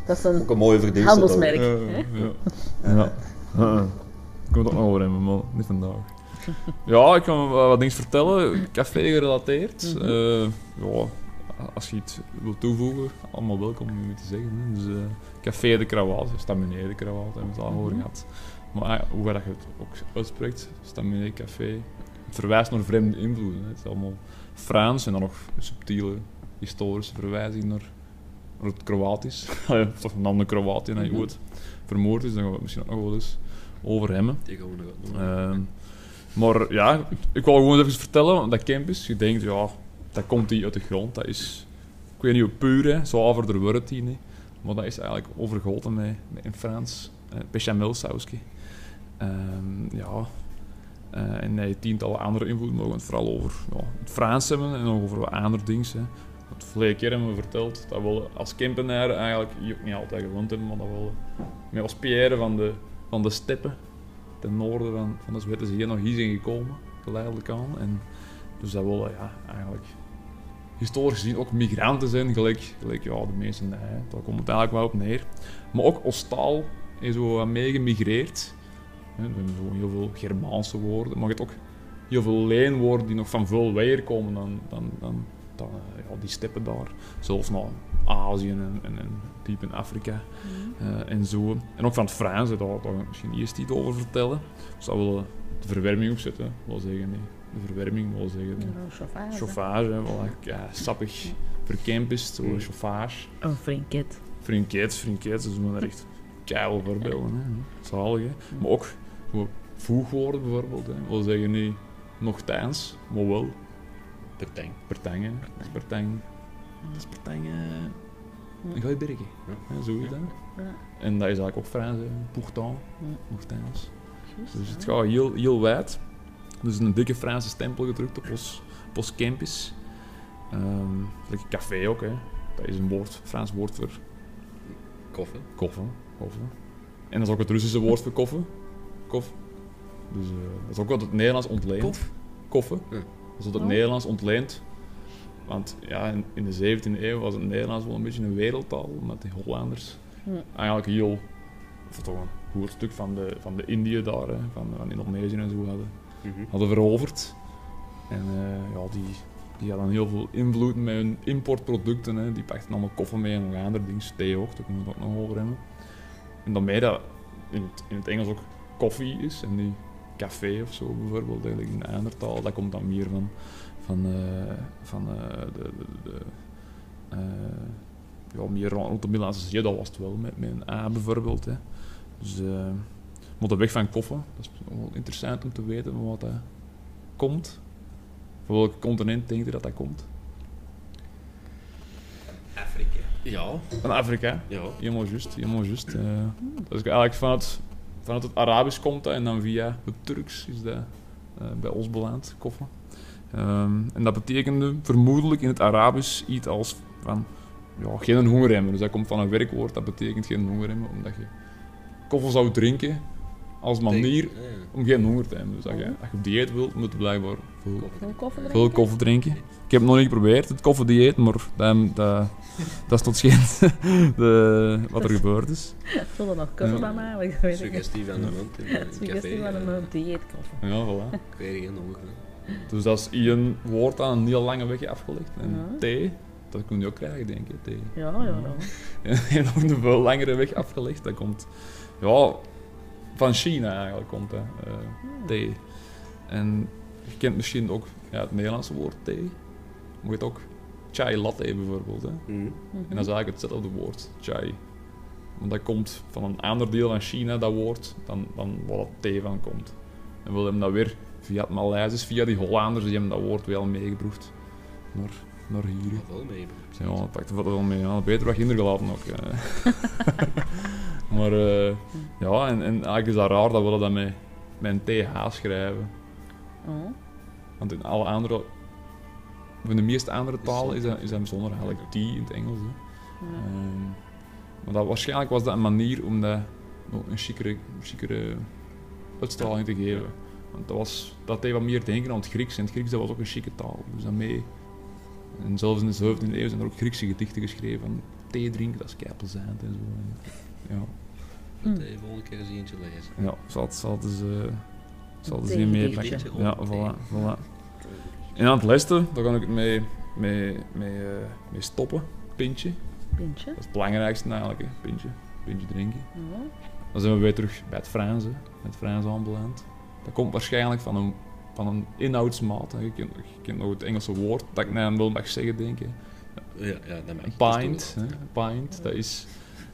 C: Dat is een
E: Ook een mooie verdienste.
C: handelsmerk.
A: Eh, ja. ja. Eh, eh. Ik moet het ook nog over hebben, man. Niet vandaag. Ja, ik kan wel wat dingen vertellen. Café gerelateerd. Eh, ja, als je iets wilt toevoegen, allemaal welkom om je te zeggen. hè. Dus, eh, Café de Krawaat, Staminé de Krawaat, hebben we het al over
C: Mhm.
A: gehad. Maar eh, hoe dat je het ook uitspreekt, Staminé Café, verwijst naar vreemde invloeden. hè. Het is allemaal Frans en dan nog subtiele historische verwijzing naar, naar het Kroatisch. Allee, Toch nam de Kroatië en hij
C: Mhm.
A: ooit vermoord is, dan gaan we het misschien ook nog wel eens over hebben.
B: Die gaan we nog doen.
A: Ehm, maar ja, ik wil gewoon even vertellen, want dat campus, je denkt, ja, dat komt die uit de grond. Dat is, ik weet niet hoe puur, hè, zuiverder wordt die niet. Maar dat is eigenlijk overgoten met, met in Frans, eh bechamelsausje. Ehm, ja, Eh, en nee, tientallen andere invloeden, maar we gaan het vooral over ja, het Frans hebben en ook over wat andere dingen. Hè. Wat vorige keer hebben we verteld, dat we als campenaar eigenlijk hier ook niet altijd gewoond hebben, maar dat we met als Pierre van de, van de steppen ten noorden van, van de Zweden is hier nog hier zijn gekomen, geleidelijk aan. En dus dat willen ja, eigenlijk historisch gezien ook migranten zijn, gelijk, gelijk ja, de meesten. hè. Daar komt het eigenlijk wel op neer. Maar ook ons taal is zo wat meegemigreerd. hè. Er zijn zo heel veel Germaanse woorden, maar je hebt ook heel veel leenwoorden die nog van veel weier komen dan, dan, dan, dan, eh, ja, die steppen daar. Zelfs naar Azië en, en, en diep in Afrika. Eh, en zo. En ook van het Frans, hè, daar daar kan ik misschien eerst iets over vertellen. Dus dat wil eh, de verwerming opzetten, wil zeggen. Nee. De verwerming wil zeggen. de
C: Chauffage.
A: Chauffage, hè, wel, ja, sappig verkemp is, zo,
B: Mm.
A: chauffage.
C: Een frinket.
A: Frinkets, frinkets, dus we zijn er echt keil voorbeelden. Hè. Zalig, hè. Maar ook zo voegwoorden bijvoorbeeld. Hè. Wil zeggen niet nogthans, maar wel
B: Pertijn.
A: pertangen. hè. Dat is pertang. Dat is pertangen. Een gooi bergen.
B: Ja.
A: hè, Zo is dat.
C: Ja.
A: En dat is eigenlijk ook Frans, hè. Pourtant,
C: Ja.
A: nogthans.
C: Juist,
A: Dus het
C: ja.
A: gaat heel, heel wijd. Dus een dikke Franse stempel gedrukt op ons, op ons campus. Ehm, Lekker café ook, hè. Dat is een woord, Frans woord voor
B: Koffie.
A: koffen. koffen. En dat is ook het Russische woord voor koffen. Kof. Dus eh, dat is ook wat het Nederlands ontleent.
B: Kof?
A: Koffen.
B: Ja.
A: Dat is wat het
C: Oh.
A: Nederlands ontleent. Want ja, in, in de 17e eeuw was het Nederlands wel een beetje een wereldtaal. Omdat de Hollanders
C: Ja.
A: eigenlijk heel... Of toch een goed stuk van de, van de Indië daar, hè, van, van Indonesië en zo hadden
B: Mhm.
A: hadden veroverd. En eh, ja, die, die hadden heel veel invloed met hun importproducten. Hè. Die pakten allemaal koffie mee en nog andere dingen. Thee ook, daar kunnen we het ook nog over hebben. En dan mee dat in het, in het Engels ook koffie is en niet café of zo bijvoorbeeld. Eigenlijk in een andere taal, dat komt dan meer van, van, eh, van eh, de... de, de eh, ja, meer rond rond de Middellandse Zee, dat was het wel, met, met een A bijvoorbeeld. Hè. Dus, eh, maar de weg van koffie, dat is wel interessant om te weten van wat dat komt. Van welk continent denkt u dat dat komt?
D: Afrika.
B: Ja,
A: Van Afrika.
B: ja.
A: Helemaal juist, helemaal juist. eh. dus eigenlijk vanuit, vanuit het Arabisch komt dat en dan via het Turks is dat eh, bij ons beland, koffen. Ehm, en dat betekende vermoedelijk in het Arabisch iets als van ja, geen honger hebben. Dus dat komt van een werkwoord dat betekent geen honger hebben, omdat je koffie zou drinken als manier
B: Ja, ja.
A: om geen honger te hebben. Dus als je, als je op dieet wilt, moet je blijkbaar veel
B: Koffie.
E: Wil je koffie
A: Veel
E: drinken?
A: koffie drinken. Ik heb het nog niet geprobeerd, het koffiedieet, maar dat, dat, dat is tot schijnt de, wat er gebeurd is.
C: Zullen we nog koffie
A: Ja.
C: bij mij? Ik weet het niet.
B: Suggestie van de mond in een
C: Suggestie
B: café,
C: van
B: eh,
C: een dieetkoffie.
A: Ja, voilà.
B: Ik weet geen honger. hè.
A: Dus dat is één woord aan een heel lange weg afgelegd. En
C: Ja.
A: thee, dat kun je ook krijgen, denk ik. Thee.
C: Ja, ja, ja.
A: En ook een veel langere weg afgelegd. Dat komt ja, van China eigenlijk, komt dat, eh, thee. En je kent misschien ook ja, het Nederlandse woord thee. Maar je hebt ook chai latte bijvoorbeeld. Hè.
B: Mhm.
A: En dat is eigenlijk hetzelfde woord, chai. Want dat komt van een ander deel van China, dat woord, dan, dan waar dat thee van komt. En we hebben dat weer via het Maleisisch, via die Hollanders, die hebben dat woord wel meegebracht naar, naar hier.
B: Maar Ah, wel mee.
A: Ja, dat pakt er wel mee. Ja. Beter wat kindergelaten ook. eh. maar eh, ja, en, en eigenlijk is dat raar dat we dat met, met een TH schrijven.
C: Oh.
A: Want in alle andere, in de meeste andere
B: Is
A: talen
B: zonder.
A: is dat, is dat zonder eigenlijk die in het Engels. Hè.
C: Ja.
A: Ehm, maar dat, waarschijnlijk was dat een manier om dat wel een chicere, chicere uitstraling te geven. Want dat, was, dat deed wat meer denken aan het Grieks. En het Grieks dat was ook een chique taal. Dus daarmee. En zelfs in de 17e eeuw zijn er ook Griekse gedichten geschreven. Van thee drinken, dat is keipelzijnd en zo. En, ja,
C: Mm.
B: Dat de volgende keer eens eentje lezen.
A: ja, zal het, zal het eens, eh, zal het eens
C: Een
A: hier mee
C: theegedichtje.
A: pakken. Ja,
B: Oh,
A: voilà, voilà. En aan het lesten, daar kan ik het mee, mee, mee, eh, mee stoppen. Pintje.
C: Mm, Pintje.
A: Dat is het belangrijkste eigenlijk, hè. Pintje. Pintje drinken.
C: Ja.
A: Dan zijn we weer terug bij het Franse, het Franse ambulant. Dat komt waarschijnlijk van een van een inhoudsmaat. hè. Je kent, je kent nog het Engelse woord dat ik nou wel mag zeggen, denk ik.
B: Ja, ja, dat mag.
A: Een
B: Dat is
A: pint, hè,
B: toegelaten,
A: een pint, dat is,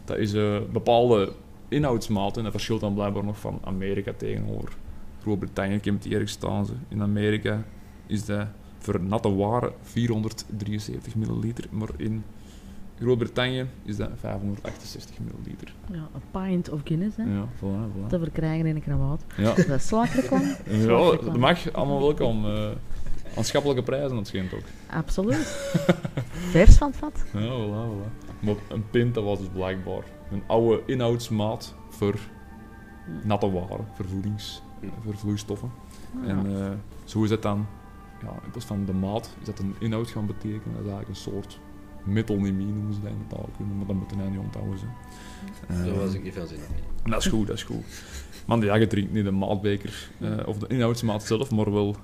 A: dat is een bepaalde inhoudsmaat. En dat verschilt dan blijkbaar nog van Amerika tegenover Groot-Brittannië. Ik heb het hier staan. ze. In Amerika is dat voor natte waren 473 milliliter. Maar in Groot-Brittannië is dat 568 milliliter.
C: Ja, een pint of Guinness, hè.
A: Ja, voilà, voilà.
C: Te verkrijgen in een krabat.
A: Ja,
C: Dat is slaapreclame.
A: ja dat mag. Allemaal welkom. eh aanschappelijke prijzen, dat schijnt ook.
C: Absoluut. Vers van het vat.
A: Ja, voilà, voilà. Maar een pint, dat was dus blijkbaar een oude inhoudsmaat voor natte waren, voor, voedings, voor vloeistoffen. En eh, zo is het dan, ja, in plaats van de maat, is dat een inhoud gaan betekenen. Dat is eigenlijk een soort metonymie, noemen ze dat in de taalkunde, maar dat moet je nou niet onthouden. Zo.
B: hè. Zo
A: Eh,
B: was ik niet veel zin in.
A: en Dat is goed, dat is goed. Man, ja, je drinkt niet de maatbeker eh, of de inhoudsmaat zelf, maar wel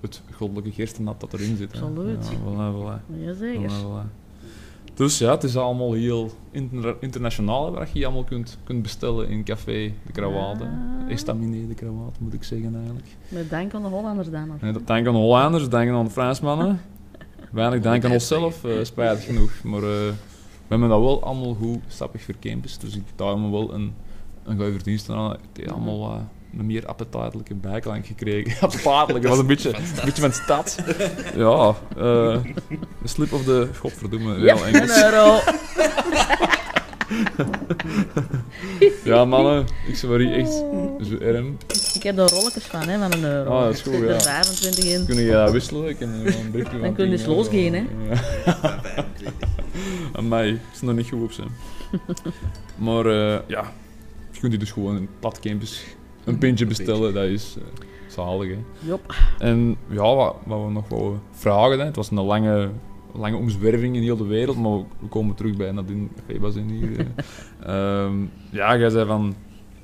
A: het goddelijke gerstennat dat erin zit. hè.
C: Absoluut.
A: Ja, voilà, voilà.
C: Jazeker.
A: Voilà, voilà. eh, Dus ja, het is allemaal heel interna- internationaal hè, wat je hier allemaal kunt, kunt bestellen in café De Krawade.
C: Ah.
A: Estaminet De Krawade moet ik zeggen eigenlijk.
C: Met dank aan de Hollanders dan nog.
A: En dat denken aan Hollanders, denken aan de Fransmannen. Weinig denken aan onszelf, eh, spijtig genoeg. Maar eh, we hebben dat wel allemaal goed sappig verkempest. Dus ik daar me wel een, een goede verdienste aan. Het heeft allemaal eh, een meer appetijtelijke bijklank gekregen. Appetijtelijk, dat was een beetje een beetje van de stad. Ja, eh slip of the... Godverdomme,
C: Ja,
A: wel
C: een
A: Engels.
C: euro.
A: Ja, mannen, ik zou hier echt
C: Oh.
A: zo erm.
C: Ik heb daar rolletjes van, hè, van een euro.
A: Ah, dat is goed,
C: Ik zet er
A: ja.
C: 25 in.
A: Kun je dat wisselen? Ik kan er wel een briefje van
C: Dan kun je eens
A: 10 euro.
C: losgaan, hè?
A: Ja. Amai, ik is nog niet goed op zijn. maar eh, ja, je kunt hier dus gewoon een plat campus, een pintje bestellen, dat is eh, zalig. Hè.
C: Jop.
A: En ja, wat, wat we nog wouden vragen, hè, het was een lange, lange omzwerving in heel de wereld, maar we komen terug bij Nadine Febas in hier. eh. Ehm, ja, jij zei van,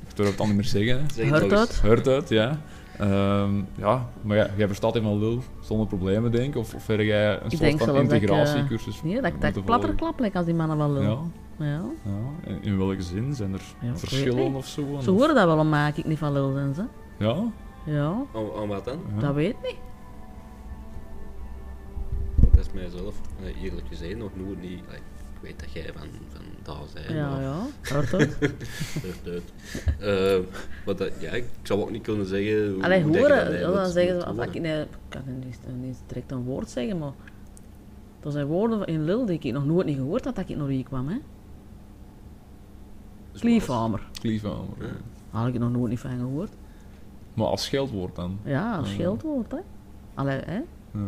A: ik durf het al niet meer zeggen. hè.
B: Zeg
C: Hoort
B: het nog eens.
C: dat?
A: Hurt uit, ja. Ehm, ja, maar ja, jij verstaat helemaal lul zonder problemen, denk ik. Of, of heb jij een
C: Ik
A: soort
C: denk
A: van
C: zelfs dat ik, eh,
A: integratiecursus?
C: Nee, dat,
A: moeten
C: dat klapperklap lijkt als die mannen wel
A: volgen?
C: lullen.
A: Ja,
C: Ja.
A: ja. En in welke zin? Zijn er
C: Ja, ik weet
A: verschillen
C: niet.
A: of zo? En
C: Ze
A: of-
C: horen dat wel een maak ik niet van lul zijn ze.
A: Ja?
C: Ja,
B: Aan- aan wat dan?
A: ja.
C: dat weet niet.
B: Dat is mijzelf. Eh, Eerlijk gezegd, nog nooit niet. like, ik weet dat jij van, van daar bent.
C: Ja,
B: maar-
C: ja. Hoort dat?
B: Echt uit. Eh, maar dat, ja, ik zou ook niet kunnen zeggen hoe
C: Allee,
B: hoe dat je dat
C: horen,
B: hebt,
C: ja, dan
B: want-
C: zeggen ze,
B: want
C: van, ik,
B: horen.
C: nee, ik kan er niet, niet direct een woord zeggen, maar er zijn woorden in Lul die ik nog nooit niet gehoord had dat ik nog hier kwam, hè.
B: Zoals-
C: Kliefhamer,
A: Kliefhamer, ja.
C: had ik er nog nooit niet van gehoord.
A: Maar als scheldwoord dan?
C: Ja, als
A: Ja.
C: scheldwoord, hè. Allee, hè,
A: Ja,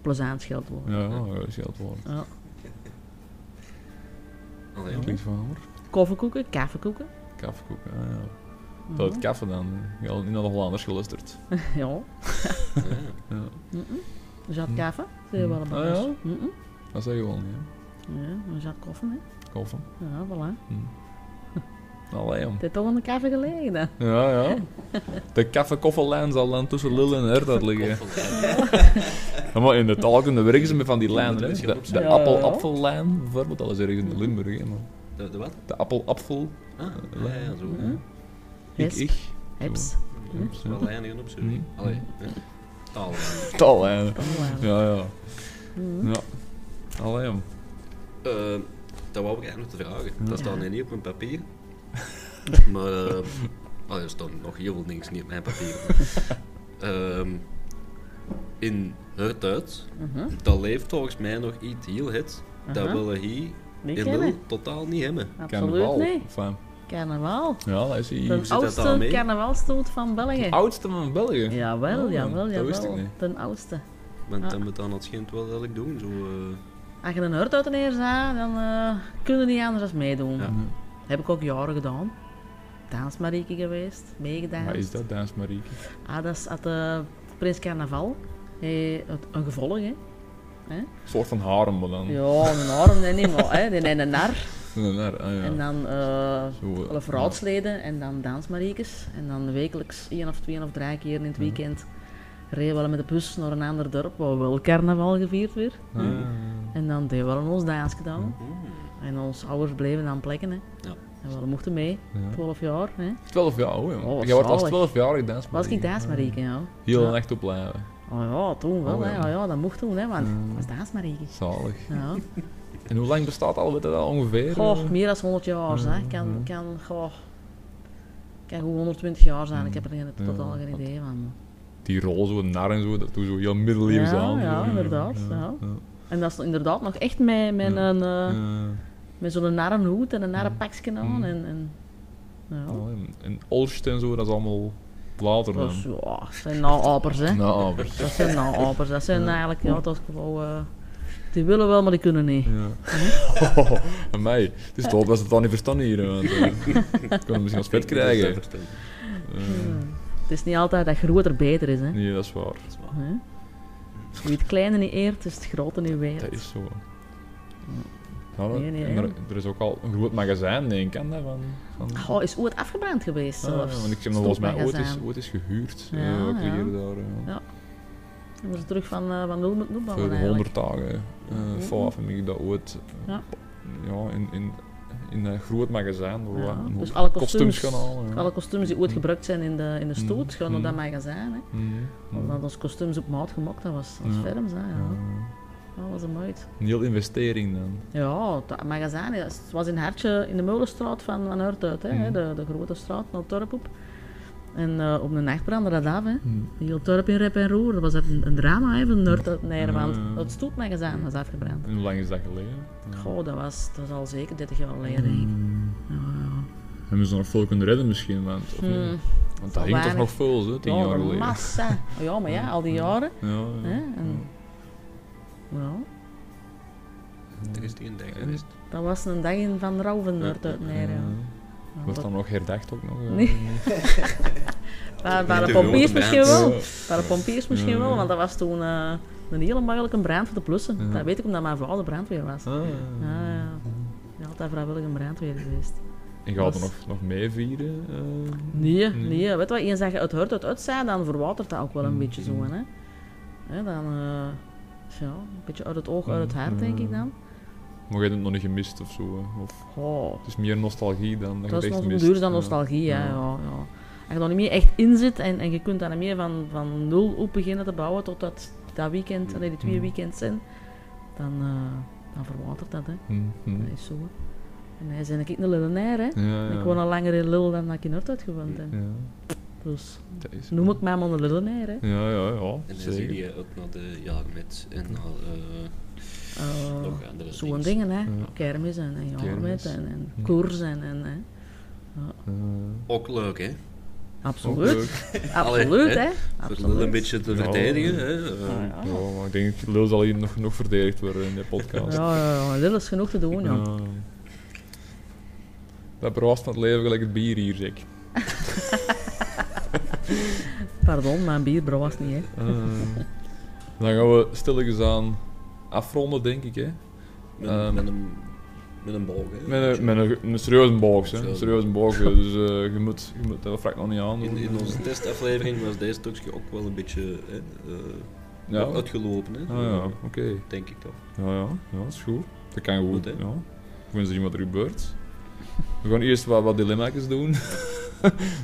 C: plezant scheldwoord.
A: ja, ja eh, scheldwoord.
C: Ja.
B: Allee, Ah, ja.
A: Kliefhamer?
C: Koffiekoeken, kaffiekoeken.
A: Kaffekoek, ah, ja. Dat het kaffe dan. Je had niet naar de Hollanders geluisterd.
C: ja.
A: Ja.
C: Een zat kaffe, zei je wel een
A: Ah,
C: baas.
A: Hm. ja?
C: Mhm.
A: Dat zei je wel niet, hè?
C: Ja, een zat koffie, hè.
A: Koffie. Hm.
C: Ja, voilà.
A: Allee, om.
C: Het heeft toch aan de kaffe gelegen, hè.
A: Ja, ja. De kaffekoffellijn zal dan tussen Lille en Herdad liggen. Ja, maar in de taalkunde werken ze met van die lijnen. Hè. De, de
C: Ja.
A: appel-appellijn bijvoorbeeld, dat is ergens in de Limburg. Hè, maar
B: De, de wat?
A: de appel-appel,
B: Ah, ja, ja, zo.
A: Ja. ik,
C: Hesp,
A: ik.
C: Hm. heps.
B: Dat is wel eindigen op, sorry.
A: Mhm.
B: Allee, hè. taal.
A: Tallijnen.
C: Oh,
A: Ja, ja.
C: Hm,
A: ja. Allee, jong.
B: Eh, dat wou ik eigenlijk nog te vragen. Dat staat
C: Ja.
B: nu niet op mijn papier. maar eh, allee, er staan nog heel veel dingen niet op mijn papier. Ehm, in het uit, dat leeft volgens mij nog iets heel het. Dat
C: hm, Aha.
B: willen hier
C: Niet
B: in
C: kennen.
B: Lille totaal niet hebben.
C: Absoluut
A: Carnaval.
C: niet.
A: Enfin,
C: Carnaval.
A: ja, dat is hier.
B: zit
C: De
B: dat dan
C: oudste
B: mee?
C: carnavalstoet van België.
A: Oudste van België.
C: Jawel,
A: Oh,
C: jawel,
A: dat wist ik
C: jawel.
A: niet.
C: De oudste.
B: Want
C: Ah.
B: dan moet dan het schijnt wel dat ik doen. Zo, eh,
C: Als je een hurt uit de neer zaa, dan eh kun je niet anders dan meedoen.
B: Ja.
C: Heb ik ook jaren gedaan. Dansmarieke geweest, meegedaan.
A: Wat is dat, Daans Marieke?
C: Ah, dat is at, eh, Prins Carnaval. Hey, het- een gevolg, hè?
A: Oh. Een soort van harem, maar dan.
C: Ja, een arm, nee, niet, maar hè, die zijn een nar.
A: Ja, daar, ah, ja.
C: En dan eh
A: Zo, eh,
C: alle verhoudsleden en dan dansmariekes. En dan wekelijks één of twee of drie keer in
A: Mhm.
C: het weekend reden we met de bus naar een ander dorp waar wel carnaval gevierd werd.
A: Ah, Mhm.
B: hmm.
C: En dan deden we aan ons dans gedaan. En onze ouders bleven dan plekken. Hè.
B: Ja.
C: En we mochten mee, 12 jaar. Hè.
A: 12 jaar, oh, jongen.
C: Oh, wat
A: Jij wordt als
C: zalig.
A: 12 jaar gedaan.
C: Was ik daar maar reken, ja.
A: Heel
C: Ja.
A: een echt op blijven.
C: Oh ja, toen wel,
A: Oh,
C: hè.
A: ja.
C: Ja, ja, dat mocht toen, hè, want
A: Mm.
C: ik was daar maar reken.
A: Zalig.
C: Ja.
A: En hoe lang bestaat al, weet je dat ongeveer?
C: Goh, meer dan 100
A: Mm,
C: jaar, hè. Ik Kan, kan, goh, kan gewoon 120 jaar zijn. Ik heb er geen-
A: Mm. Ja,
C: totaal geen
A: dat-
C: idee van.
A: Die rol, zo nar en zo, dat doet zo heel middeleeuws
C: Ja,
A: aan.
C: ja,
A: zo.
C: inderdaad, ja.
A: ja.
C: En dat is inderdaad nog echt met, met,
A: Mm.
C: een, eh,
A: Eh,
C: met zo'n narrenhoed en een narrenpakje aan.
A: Mm.
C: En, en, ja.
A: nou, en- En Olst en zo, dat is allemaal later
C: Dat
A: dan.
C: is- ja, dat zijn naapers, hè.
A: Nou, maar-
C: Dat zijn naapers. Dat zijn
A: Ja.
C: eigenlijk, ja, dat is gewoon... eh, die willen wel, maar die kunnen niet.
A: Ja. Aan mij. Het is toch dat ze het al niet verstaan hier. Want, eh, ik kan het misschien als vet krijgen. Eh,
C: Mm. Het is niet altijd dat groter beter is, hè.
A: nee, dat is waar.
C: Hè? Wie het kleine niet eert, is het grote niet weet.
A: Dat is zo. Ja, dat-
C: Nee, nee,
A: en
C: hè?
A: er, er is ook al een groot magazijn, denk ik, hè, van... van
C: Goh, is ooit afgebrand geweest
A: Ah,
C: zelfs.
A: want ik heb nog volgens mij ooit eens,
C: Stoelmagazijn.
A: ooit eens gehuurd.
C: Ja,
A: eh, ook
C: ja.
A: hier daar, eh,
C: Ja, Hebben ze terug van, eh, van nul moeten
A: Voor
C: opbouwen
A: de
C: eigenlijk.
A: 100 dagen. eh
C: Mhm.
A: vanaf heb ik dat ooit eh,
C: Ja.
A: ja, in, in, in een groot magazijn. Waar we
C: Ja,
A: een
C: Dus
A: hoop
C: alle
A: kostuums
C: kostuums,
A: gaan halen. ja.
C: alle kostuums die ooit gebruikt zijn in de, in de stoet, gaan naar dat
A: Mm.
C: magazijn. Hè.
A: Mhm, mhm.
C: Omdat ons kostuums op maat gemaakt, dat was, dat was
A: Ja.
C: ferms, hè, ja.
A: Ja.
C: Dat was een moeite.
A: Een heel investering dan.
C: Ja, dat magazijn ja, het was in Hartje, in de Molenstraat van, van Hert uit, hè,
A: Mm.
C: de, de grote straat naar Torp op. En eh, op een nacht brandde dat af, hè.
A: Mhm.
C: Heel dorp in rep en roer. Dat was echt een, een drama hè, van Noord tot Nederland.
A: Ja.
C: Het stoelmagazijn was afgebrand.
A: En hoe lang is dat geleden?
C: Goh, dat was, dat is al zeker 30 jaar geleden, Mm. denk ik. Ja,
A: Mhm. Hebben ze nog veel kunnen redden misschien? Want, of niet?
C: Hmm.
A: want dat hing
C: wel
A: toch
C: weinig. Oh,
A: nog veel, hè, tien
C: Ja,
A: jaar
C: een
A: geleden.
C: massa. Oh ja, maar ja, al die jaren.
A: Ja, ja.
C: Hè? En, ja,
B: Er is die een dag
A: Ja.
B: geweest.
C: dat was een dag in Van Rauw van Noord uit Nederland. Ja,
A: Wordt
C: dat-
A: dan nog herdacht ook nog? eh?
C: Nee. Waar waar de
B: Niet te
C: pompiers
B: grote
C: misschien
B: brand.
C: wel.
A: Ja.
C: Waar de pompiers misschien
A: Ja.
C: wel, want dat was toen eh, een hele makkelijke brand voor de plussen.
A: Ja.
C: Dat weet ik omdat mijn vader brandweer was. Ja,
A: Ah.
C: ja. Ja, Altijd vrijwillig een brandweer geweest.
A: En gaat er
C: Was-
A: nog, nog mee vieren? eh?
C: Nee,
A: Nee.
C: nee. Weet je wat, eens dat je het hoort uit uitzij, dan verwatert dat ook wel een
A: Mm,
C: beetje zo.
A: mm.
C: Hè? Hè, dan, eh, ja, een beetje uit het oog, uit het hart,
A: Mm,
C: denk ik
A: mm.
C: dan.
A: Maar je hebt het nog niet gemist of zo. hè? Of,
C: Goh,
A: het is meer nostalgie dan dat,
C: Oh, dat
A: je
C: is
A: het echt
C: nog
A: mist.
C: duur dan
A: Ja.
C: nostalgie, ja.
A: Ja.
C: Ja, ja, Als je dan niet meer echt in zit en, en je kunt dan niet meer van, van nul op beginnen te bouwen tot dat, dat weekend, nee, die twee
A: Mm.
C: weekends zijn, dan, eh, dan verwatert dat, hè.
A: Hmm, hmm.
C: Dat is zo, hè. En wij zijn ik een Lillenair, hè.
A: Ja, ja.
C: Ik woon al langer in Lille dan dat ik in Noord uitgewoond heb.
A: Ja,
C: Dus
A: dat is
C: noem ik mij maar een Lillenair, hè.
A: Ja, ja, ja.
B: En dan zie
A: zeker.
B: je ook naar de jaarmet en naar eh,
C: Eh,
B: nog andere
C: Zo'n
B: dingen.
C: dingen, hè.
A: Ja.
C: Kermis en, en jaarmet
A: Kermis.
C: en, en
A: Hm.
C: koers en... en hè.
A: Eh,
B: Ook leuk, hè?
A: ook
C: Absoluut.
A: leuk.
C: Absoluut,
B: Allee,
C: hè.
B: Voor Lille een
C: Absoluut.
B: beetje te
A: Ja.
B: verdedigen, hè? eh,
C: Ah, ja.
A: Ja, maar ik denk dat Lul zal hier nog genoeg verdedigd worden in de podcast.
C: Ja, ja, ja. Lille is genoeg te doen, ja.
A: Ja. Dat verrast van het leven gelijk het bier hier, zeg.
C: Pardon, mijn bier was niet, hè.
B: Ah.
A: Eh, dan gaan we stilletjes aan afronden, denk ik. Hè?
B: Met,
A: Ehm.
B: met een, met een boog, hè?
A: Met, een, met een, een serieuze boog. hè. Een
B: Serieuze.
A: serieuze boog. eh, Dus eh, je, moet, je moet dat vraag nog niet aan.
B: In, in onze testaflevering was deze stukje ook wel een beetje hè, eh,
A: Ja. Ah,
B: uitgelopen, hè?
A: ja, oké.
B: Denk ik toch.
A: Ja, ja, ja, dat is goed. Dat kan goed,
B: Goed,
A: hè?
B: hè?
A: Ja. We gaan zien wat er gebeurt. We gaan eerst wat, wat dilemma's doen.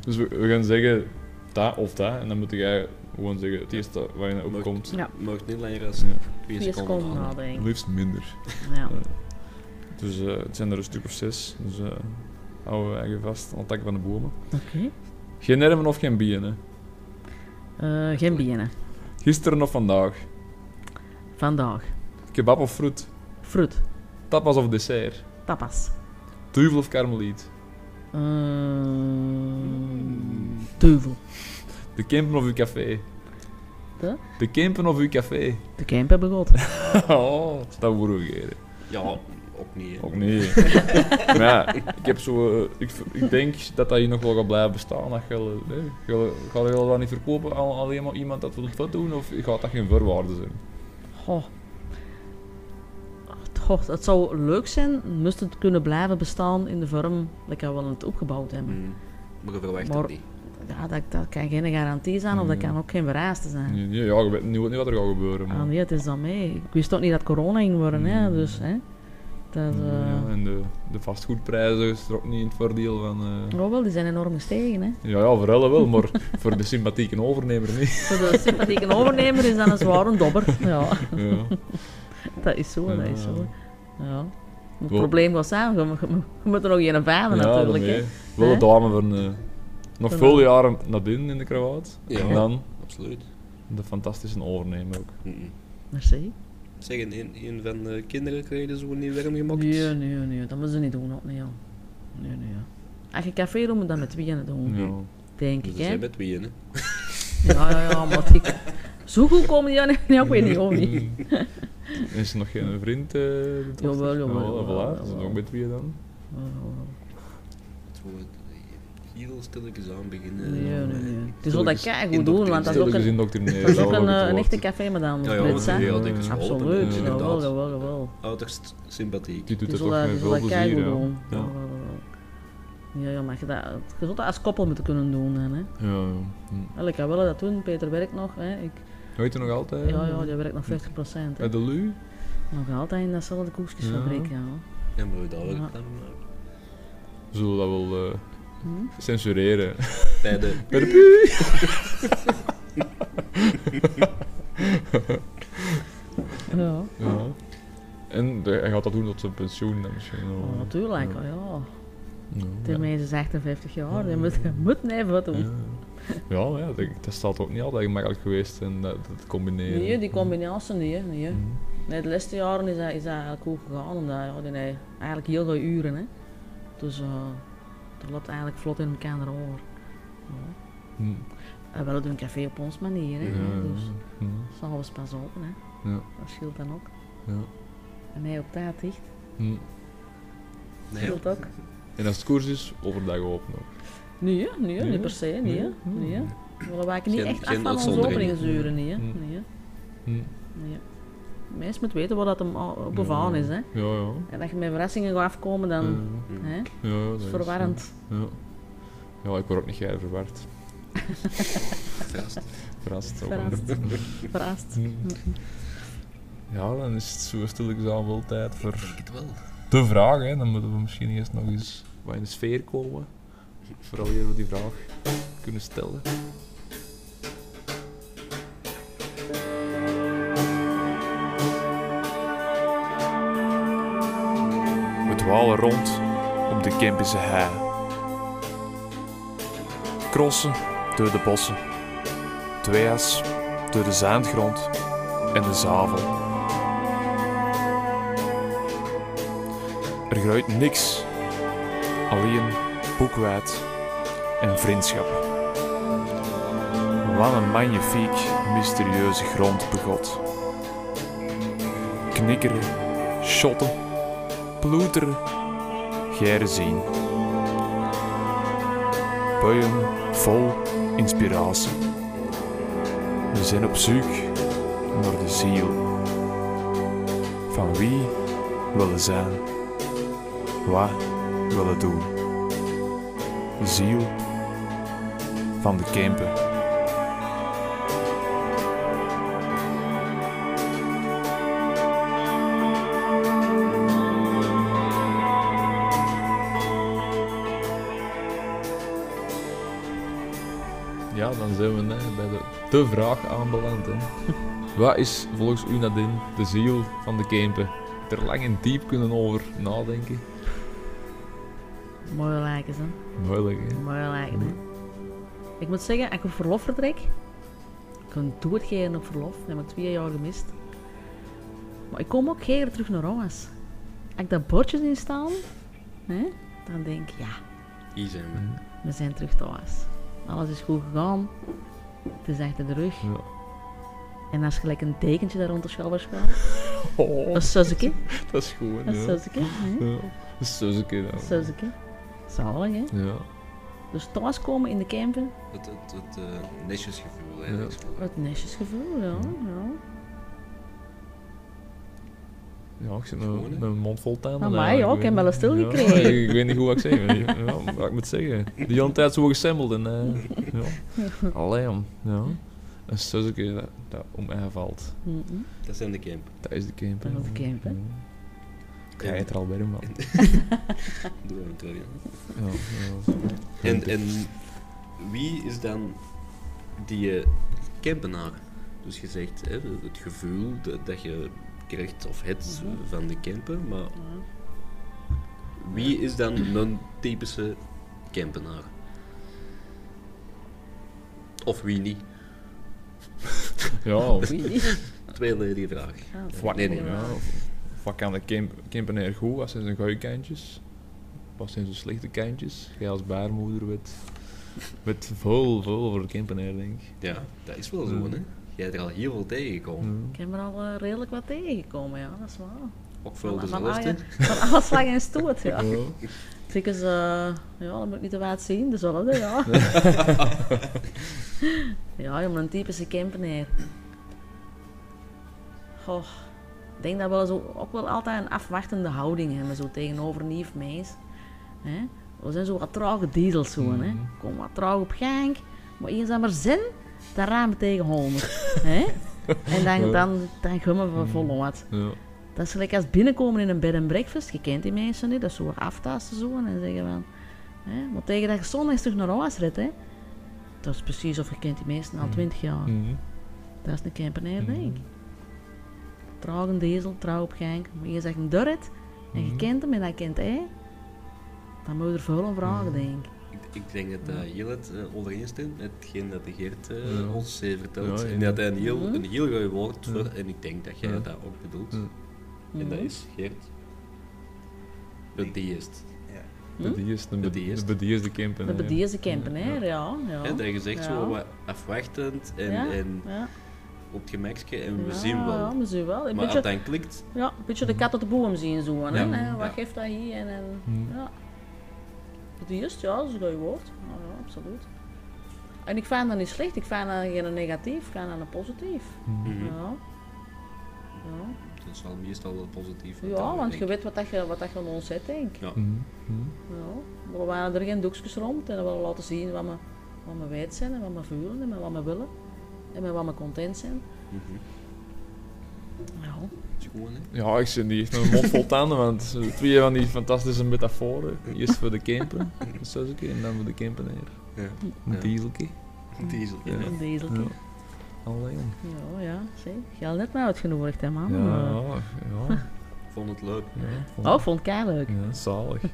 A: dus we, we gaan zeggen dat of dat. En dan moet jij gewoon zeggen het eerste dat waar je naar
B: Leuk.
A: opkomt.
C: Ja.
B: Mocht niet langer als
A: Ja.
B: twee
C: Vier
B: seconden
C: seconden
B: aan.
C: nadenken.
A: Liefst minder.
C: Ja.
A: Dus eh, het zijn er een stuk of zes. Dus eh, houden we eigen vast aan het dak van de bomen.
C: Oké.
A: Geen nerven of geen bieren. hè.
C: Eh, Geen bienen.
A: Gisteren of vandaag.
C: Vandaag.
A: Kebab of fruit.
C: Fruit.
A: Tapas of dessert.
C: Tapas.
A: Duivel of karmeliet.
C: Ehm duivel.
A: De campen of uw café.
C: De?
A: De campen of uw café.
C: De camp hebben we gehad.
A: Oh, dat hoor ik eerder.
B: Ja, ook niet, hè?
A: Ook niet. maar ja, ik heb zo... eh, ik, ik denk dat dat hier nog wel gaat blijven bestaan. Dat je, eh, je, ga je dat niet verkopen aan alleen maar iemand dat wil vet doen? Of gaat dat geen voorwaarde zijn?
C: Goh. Ah, Goh, het zou leuk zijn, moest het kunnen blijven bestaan in de vorm dat we het opgebouwd hebben.
B: Mm. Maar je verwacht
C: Maar-
B: het niet.
C: Ja, dat, dat kan geen garantie zijn of dat
A: Ja.
C: kan ook geen vereiste zijn.
A: Nee, nee, ja, je weet niet, wat- niet wat er gaat gebeuren.
C: Ah
A: Maar.
C: nee, het is dan mee. Ik wist ook niet dat corona ging worden, hè, dus hè. Dat, eh
A: Mm, Ja, en de, de vastgoedprijzen zijn er ook niet in het voordeel van. eh.
C: oh wel, die zijn enorm gestegen. Hè.
A: Ja, ja, voor Ellen wel, maar voor de sympathieke overnemer niet.
C: Voor de sympathieke overnemer is dat een zware dobber. Ja,
A: Ja.
C: dat is zo, dat is
A: Ja.
C: zo. Ja. Het
A: Wel-
C: probleem was samen, je, moet- je moet er nog een vader natuurlijk.
A: daarmee.
C: Hè.
A: Wel
C: Hè?
A: de dame van eh, nog
C: Van
A: veel
C: de-
A: jaren naar binnen in de krawaat.
B: Ja.
A: En dan
B: Absoluut.
A: de fantastische overnemer ook.
B: Mm-mm.
C: Merci.
B: Zeg, in, in, in van de kinderen krijg je zo niet warm gemaakt? Dus
C: Nee, nee, nee, dat moeten ze niet doen. Ook niet, ja. nee, nee, ja. Als je café doet, moet dat met tweeën doen,
A: Ja.
C: denk
B: Dus
C: ik.
B: dat
C: Hè?
B: zijn met tweeën, hè?
C: Ja, ja, ja, maar die- zo goed komen die aan. Ja, ik weet niet, ook niet.
A: Is er nog geen vriend? eh de dochter?
C: Jawel, jawel,
A: Nou, voilà,
C: jawel,
A: Dat is
C: jawel.
A: ook met wie dan?
C: Ja,
B: Zo, eh, Heel stilletjes aan beginnen.
C: Nee, nee,
B: en dan, eh,
C: nee. Het is wel dat
B: stilletjes
C: kei goed doen, want dat is ook
A: Stilletjes
C: een,
A: indoctrineren.
C: dat is ook
A: wel
C: een,
A: goed
C: eh, een
A: woord.
C: echte café, maar dan
B: Ja,
C: met
B: ja, want
C: Brits,
B: ze
C: hè.
B: heel
A: Ja,
B: dikke school,
C: Absoluut,
B: eh,
C: ja, wel,
B: inderdaad.
C: wel, wel, wel.
B: Uiterst sympathiek.
A: Die doet
C: Die
A: het
C: zal
A: ook
C: dat,
A: met
C: die zal
A: veel
C: dat
A: plezier.
C: keigoed
A: Ja.
C: doen. Ja.
A: Ja.
C: wel, wel, wel. Ja, ja, maar je, dat, je zult dat als koppel moeten kunnen doen. Dan, hè.
A: Ja, ja. Hm.
C: Wel, Ik kan wel dat doen, Peter werkt nog. Hè. Ik,
A: Weet je nog altijd?
C: ja, ja, die werkt nog 50%. Hè.
A: Bij de Lu?
C: Nog altijd in datzelfde koekjesfabriek, ja.
B: Ja, maar hoe dat
C: Ja.
B: werkt dan? eh, maar.
A: Zullen we dat wel eh,
C: Hm?
A: censureren?
B: Bij de...
A: Bij de Pu!
C: Ja,
A: Ja. En de- hij gaat dat doen tot zijn pensioen dan misschien. wel.
C: Oh, natuurlijk, ja. ja.
A: Ja.
C: Termijn is 58 jaar, die moet, moet even wat doen.
A: Ja, ja, maar ja dat, dat staat ook niet altijd gemakkelijk geweest en dat, dat combineren.
C: Nee, die combinatie niet. hè, Nee. hè.
A: Mhm.
C: Nee, de laatste jaren is dat, is dat eigenlijk goed gegaan, omdat ja, die heeft eigenlijk heel veel uren. Hè. Dus eh dat loopt eigenlijk vlot in elkaar over. Ja.
A: Hm.
C: En wel doen café op ons manier, hè.
A: Ja,
C: dus
A: hm.
C: s'avonds pas open, hè.
A: Ja.
C: Dat scheelt dan ook.
A: Ja.
C: En hij op tijd dicht,
A: Hm.
B: Nee,
C: scheelt ook.
A: En als het koers is, overdag open nog.
C: Nee, hè, nee, niet per se, nee. hè,
A: Nee.
C: nee. hè. We waken niet
B: Geen-
C: echt af
B: geen
C: van onze
B: uitzonderingen.
C: openingsuren, nee. hè,
A: Hm.
C: nee. hè.
A: Hm.
C: Ja. Mens moet weten wat dat hem al op bevallen
A: Ja.
C: is, hè.
A: Ja, ja.
C: En dat je met verrassingen gaat afkomen, dan...
B: Mm.
C: Hè?
A: Ja, ja,
C: Dat
A: dat
C: is
A: is,
C: verwarrend.
A: Ja. Ja. Ja, ik word ook niet jij verward.
B: vast.
A: Verrast. ook.
C: Verrast. Verrast.
A: Hm. Ja, dan is het zo stilletjes aan wel tijd
B: Ik
A: voor
B: denk het wel.
A: de vraag. Hè. Dan moeten we misschien eerst nog eens wat in de sfeer komen. Vooral jullie die vraag kunnen stellen.
E: We dwalen rond op de Kempische hei. Crossen door de bossen. Tweeërs door de zandgrond en de zavel. Er groeit niks, alleen boekwijd en vriendschap. Wat een magnifiek, mysterieuze grond begot. Knikkeren, shotten, ploeteren, geren zien. Buien vol inspiratie. We zijn op zoek naar de ziel. Van wie willen zijn? Wat willen doen? De ziel van de Kempen.
A: Ja, dan zijn we hè, bij de, de vraag aanbeland. Hè. Wat is volgens u, Nadine, de ziel van de Kempen? Er lang en diep kunnen over nadenken.
C: Mooi lijken ze.
A: Moeilijk, hè?
C: Mooi lijken ze. Ik moet zeggen, als ik op verlof vertrek, ik kan doorgeven op verlof, dat heb ik twee jaar gemist. Maar ik kom ook keer terug naar Roas. Als ik dat bordje zie staan, hè, dan denk ik, ja,
B: Hier zijn we.
C: we zijn terug thuis. Alles is goed gegaan. Het is achter de rug.
A: Ja.
C: En dat is gelijk een dekentje daar rond de schouderspel.
A: Oh,
C: Dat is Suzuki.
A: dat is goed,
C: Dat is
A: hè? Ja.
C: Suzuki. hè.
A: Ja, Dat is Suzuki dan.
C: Suzuki. Zalig, hè?
A: Ja.
C: Dus thuiskomen in de camper,
B: Het, het, het eh, netjesgevoel eigenlijk. zo.
C: het nestjesgevoel, ja. ja.
A: ja, ik zit met
B: Gewoon, hè?
A: met mijn mond vol tanden.
C: Amai,
A: eigenlijk,
C: ja, ik heb
A: weet
C: wel
A: niet.
C: een stil
A: Ja,
C: gekregen.
A: ik, ik weet niet hoe ik zeg. maar ja, ja, wat ik moet zeggen. Die hele tijd zo gesemmeld en... eh, ja. Allee, om. Ja. Een Suzuki dat, dat om mij valt.
C: Mhm.
B: Dat zijn de camp.
A: Dat is de Kempen.
C: Dat is de Kempen.
A: Ja. Ga je het er al warm van?
B: Doe even terug, ja.
A: Ja, ja.
B: En, en wie is dan die eh, Kempenaar? Dus je zegt hè, het gevoel dat, dat je krijgt, of het
C: Mhm.
B: van de Kempen, maar wie is dan een typische Kempenaar? Of wie niet?
A: ja of-
C: Wie niet?
B: Tweeledige vraag.
C: Ah, dat
A: Vlak,
B: Nee, nee.
A: ja, of- of wat kan de Kemp- Kempenaar goed? Wat zijn zijn goede kantjes? Wat zijn zijn slechte kantjes? Jij als baarmoeder weet, weet veel, veel over de Kempenaar, denk ik.
B: Ja, dat is wel zo,
A: Mhm.
B: hè? Jij hebt er al heel veel tegengekomen.
A: Hmm.
C: Ik heb er al eh, redelijk wat tegengekomen, ja, dat is waar.
B: Ook veel
C: Mhm. van,
B: dezelfde.
C: alle- van alle slag en stoot, ja.
A: Ja.
C: Zeker is, eh, ja, dat moet ik niet te waard zien, dezelfde, ja. ja, je moet een typische camperneer. Goh, ik denk dat we wel zo, ook wel altijd een afwachtende houding hebben, zo tegenover een nieuw mens. Hè? We zijn zo wat trage diesels, zo, hè.
A: Mhm.
C: Kom wat traag op gang, maar eens aan maar zin, dan ramen tegen 100. hè? En dan, dan, dan gummen we vol wat.
A: Ja.
C: Dat is gelijk als binnenkomen in een bed and breakfast. Je kent die mensen niet, dat is zo wat aftasten zo en dan zeggen van... Hè, maar tegen dat je zondags terug naar huis redt, hè. Dat is precies of je kent die mensen al
A: Mhm.
C: twintig jaar.
A: Mhm.
C: Dat is een camperneer,
A: Mhm.
C: denk ik. Traag een diesel, trouw op gang. Maar je zegt hem door het, en je
A: Mhm.
C: kent hem en hij kent hij. Dan moet je er veel om vragen,
A: Mhm.
C: denk ik.
B: Ik, ik denk dat uh, heel het eh, overeenstemt met hetgeen dat de Geert eh,
A: Ja.
B: ons heeft verteld.
A: Ja,
B: En dat hij een heel,
C: Mhm.
B: een heel goed woord
A: Ja.
B: voor, en ik denk dat jij
A: Ja.
B: dat ook bedoelt.
A: Ja.
B: En dat
C: Mhm.
B: is Geert. De deest.
A: Mhm. De die is de,
B: Bedeesd.
A: de, de, de Kempenaar.
C: Dat bedoelt de camperneer, ja. ja.
B: Hè, eh, dat je zegt
C: Ja.
B: zo wat afwachtend en,
C: Ja.
B: en
C: Ja.
B: op het gemakje en we
C: Ja,
B: zien wel.
C: Ja, we zien wel. Een
B: Maar als
C: beetje-
B: het dan klikt,
C: Ja, een beetje de kat op de boom zien zo. Hè?
B: Ja.
C: Hè, Wat
B: Ja.
C: geeft dat hier? En, en,
A: Hmm.
C: ja. Het is, ja, dat is een goed woord. Nou Ja, ja, absoluut. En ik vind dat niet slecht. Ik vind dat geen negatief, ik vind dat een positief.
A: Mhm.
B: mhm,
C: Ja. Ja.
B: dat is wel meestal wel positief.
C: ja, want je
B: weet.
C: weet wat, dat je, wat dat je aan ons zet, denk ik.
B: Ja.
A: Mhm. Mhm.
C: Ja. We waren er geen doekjes rond en we willen laten zien wat we, wat we wijd zijn en wat we vuren en met wat we willen. En met wat we content zijn. Ja.
B: Dat mhm. is gewoon, hè.
A: Ja, ik zit die heeft mijn mond vol tanden, want eh, twee van die fantastische metaforen. Eerst voor de camper, een Suzuki, en dan voor de camperneer.
B: Ja.
A: Een
B: Ja.
A: dieselke.
B: Diesel.
A: Ja.
C: Een
A: Ja.
C: dezeltje.
A: Alleen.
C: Ja, ja, zie. Je had net maar uitgenodigd, hè, man. Eh,
A: Ja, ja.
B: Ik vond het leuk.
A: ja
C: Oh, vond ik kei leuk.
A: Ja, zalig.
B: Ik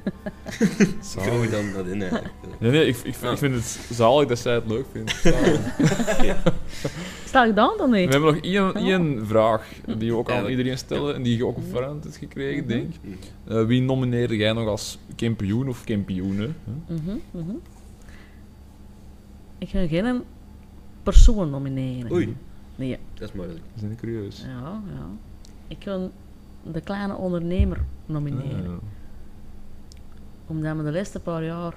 B: hou
A: zalig.
B: dan dat in eigenlijk.
A: Nee, nee, ik, ik, ik vind het zalig dat zij het leuk vindt. Zalig.
C: Sta ik dan dan
A: We
C: niet?
A: hebben nog één, één vraag die we ook aan iedereen stellen en die je ook op
C: Mhm.
A: voorhand hebt gekregen,
C: Mhm.
A: denk ik. Eh, wie nomineerde jij nog als kampioen of kampioenen? Huh?
C: Mhm, mhm. Ik ga geen persoon nomineren.
B: Oei,
C: Nee,
B: dat is moeilijk.
A: We zijn curieus.
C: ja, ja. Ik ga de kleine ondernemer nomineren.
A: Ah.
C: Omdat we de laatste paar jaar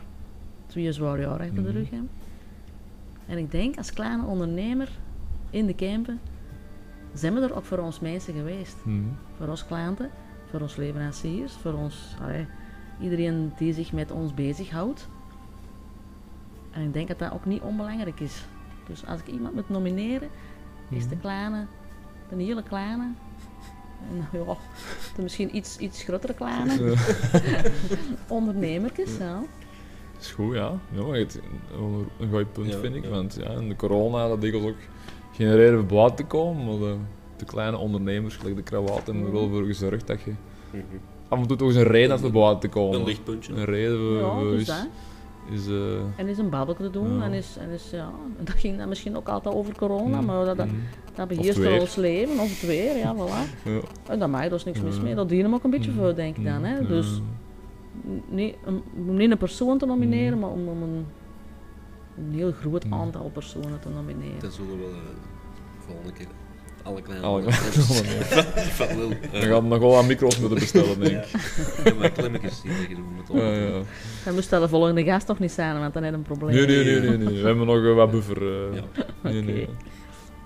C: twee zware jaar achter de
A: Mhm.
C: rug hebben. En ik denk, als kleine ondernemer in de Kempen, zijn we er ook voor ons mensen geweest.
A: Mhm.
C: voor ons klanten, voor ons leveranciers, voor ons, allee, iedereen die zich met ons bezighoudt. En ik denk dat dat ook niet onbelangrijk is. Dus als ik iemand moet nomineren, is de
A: Mhm.
C: kleine, de hele kleine, en ja, de misschien iets, iets grotere kleine,
A: Eh,
C: ondernemertjes. Ja.
A: is goed, ja. ja maar het, een, een goed punt,
B: Ja,
A: vind ik.
B: ja.
A: Want ja, in de corona dat dikwijls ook geen reden voor buiten te komen. Maar de, de kleine ondernemers, gelijk de krawaat, hebben er
C: Mm.
A: wel voor gezorgd dat je
B: Mhm.
A: af en toe toch eens een reden had voor buiten te komen.
B: Een lichtpuntje.
A: Een reden voor,
C: ja,
A: voor
C: dus
A: Eh, is,
C: dat.
A: is, eh,
C: En is een babbelje te doen.
A: Ja.
C: En is, en is, ja, dat ging dan misschien ook altijd over corona,
A: Mm,
C: maar dat, dat,
A: mm.
C: dat
A: het
C: beheerst
A: weer.
C: ons leven, of het weer, ja, voilà.
A: ja.
C: En daar maak je dus niks mis
A: Ja.
C: mee. Dat dienen we ook een beetje
A: Mm,
C: voor, denk ik dan. Hè?
A: mm,
C: Dus n- niet, een, om niet een persoon te nomineren,
A: Mm.
C: maar om, om een, een heel groot
A: Mm.
C: aantal personen te nomineren.
B: Dan zullen we wel eh, volgende keer alle kleine
A: Alle-
B: van Lil.
A: Dan gaan we nog wel wat micro's moeten bestellen, denk ik.
B: Ja, maar klemmetjes die liggen doen met
A: Ja, ja.
C: Dan moest dat de volgende gast toch niet zijn, want dan heb je een probleem.
A: Nee, nee, nee, nee, nee. We hebben nog eh, wat buffer. eh.
B: Ja.
A: Nee, nee.
C: Oké.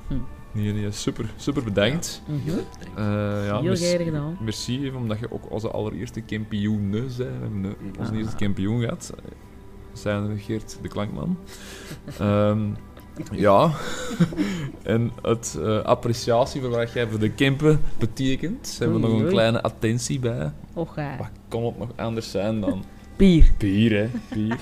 C: Hm.
A: Nee, nee, super, super bedankt.
C: Mhm.
A: Eh, ja,
C: Heel
A: merci-
C: graag gedaan.
A: Merci, even, omdat je ook onze allereerste kampioen bent. We hebben eh, onze
C: Ah.
A: eerste kampioen gehad. Zijn Geert de Klankman. Ehm, Ja. en het eh, appreciatie voor wat jij voor de Kempen betekent. Ze hebben
C: Oei,
A: nog een
C: oei.
A: kleine attentie bij.
C: Och, eh. ja.
A: Wat kon het nog anders zijn dan
C: Bier.
A: bier, hè? Bier.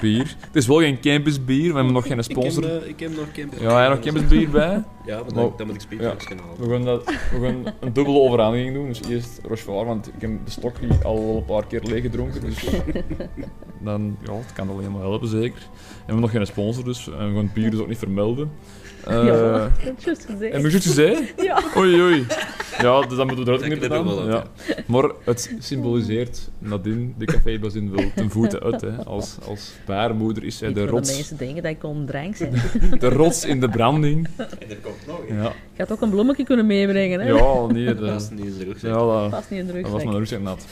A: bier. Het is wel geen campusbier, we hebben nog geen sponsor.
B: Ik heb, eh, ik heb nog campus.
A: Ja, hij nog campusbier bij.
B: Ja, maar
A: Maar-
B: dan, dan moet ik speedruns kunnen halen.
A: We gaan, dat, we gaan een dubbele overhandiging doen. Dus eerst Rochefort, want ik heb de stok die al wel een paar keer leeg gedronken. Dus dan, ja, het kan alleen maar helpen, zeker. En we hebben nog geen sponsor, dus eh, we gaan het bier dus ook niet vermelden. Eh,
C: Ja, dat is juist gezegd.
A: En moet je het gezegd?
C: Ja.
A: Oei, oei. Ja, dus dat moeten we eruit
B: Dat
A: knippen
B: knippen we
A: dan.
B: wel
A: Ja. Maar het symboliseert nadien de café Bazin wel ten voeten uit. Hè. Als, als baarmoeder is zij
C: Niet
A: de
C: voor de
A: rots,
C: mensen denken dat ik ondrank ben.
A: de rots in de branding.
B: En er komt nog
A: Ja,
C: Ik had ook een bloemetje kunnen meebrengen, hè?
A: ja nee.
B: Dat
A: Dat,
B: is niet eens de
A: ja,
B: rugzak.
A: dat-
C: Past niet in de
A: Dat was
C: rugzak.
A: mijn rugzak nat.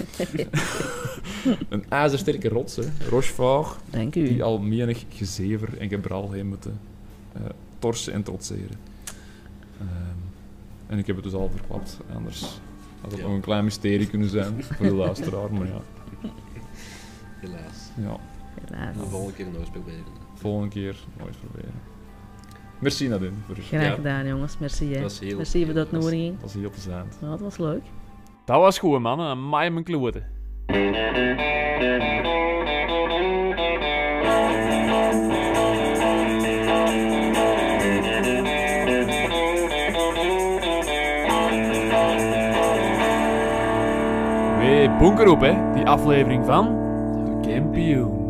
A: een ijzersterke rots, hè.
F: Hmm.
A: Rochefort,
C: Dank
A: die
C: u.
A: al menig gezever en gebral heen moeten eh, torsen en trotseren. Ehm, en ik heb het dus al verklapt, anders had het
B: Ja.
A: nog een klein mysterie kunnen zijn voor de luisteraar, maar ja.
B: Helaas.
A: ja
C: Helaas.
B: De volgende keer een oorsprong bij.
A: volgende keer nooit proberen. Merci Nadine, voor je
C: Graag
B: Ja.
C: gedaan, jongens. Merci, hè.
B: Dat was heel-
C: Merci voor de
B: dat was-
C: uitnodiging.
A: Dat is heel plezant.
C: Ja, Nou, dat was leuk.
E: Dat was goed, mannen. Een maai mijn kloten. Weer bunker op, hè. Die aflevering van... De Kampioen.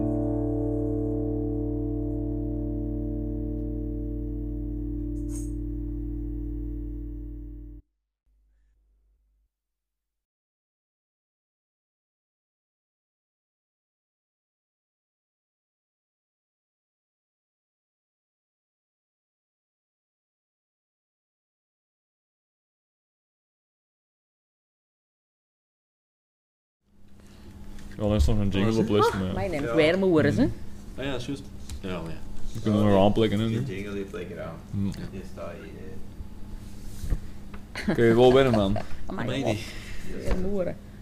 A: Ik wil eens nog een jingle op listen, maar ja.
C: Mijn neemt weer mijn woorden, hè?
B: Ah ja, juist. Ja, maar ja.
A: we kunnen er nog aanplekken. hè, nu.
F: Die jingle die lekker aan.
A: Hm.
F: Die staat hier. eh.
A: Kun je wel winnen, man.
C: Amai,
B: Mij
C: god.
A: Ah
B: niet.
C: Weer mijn woorden.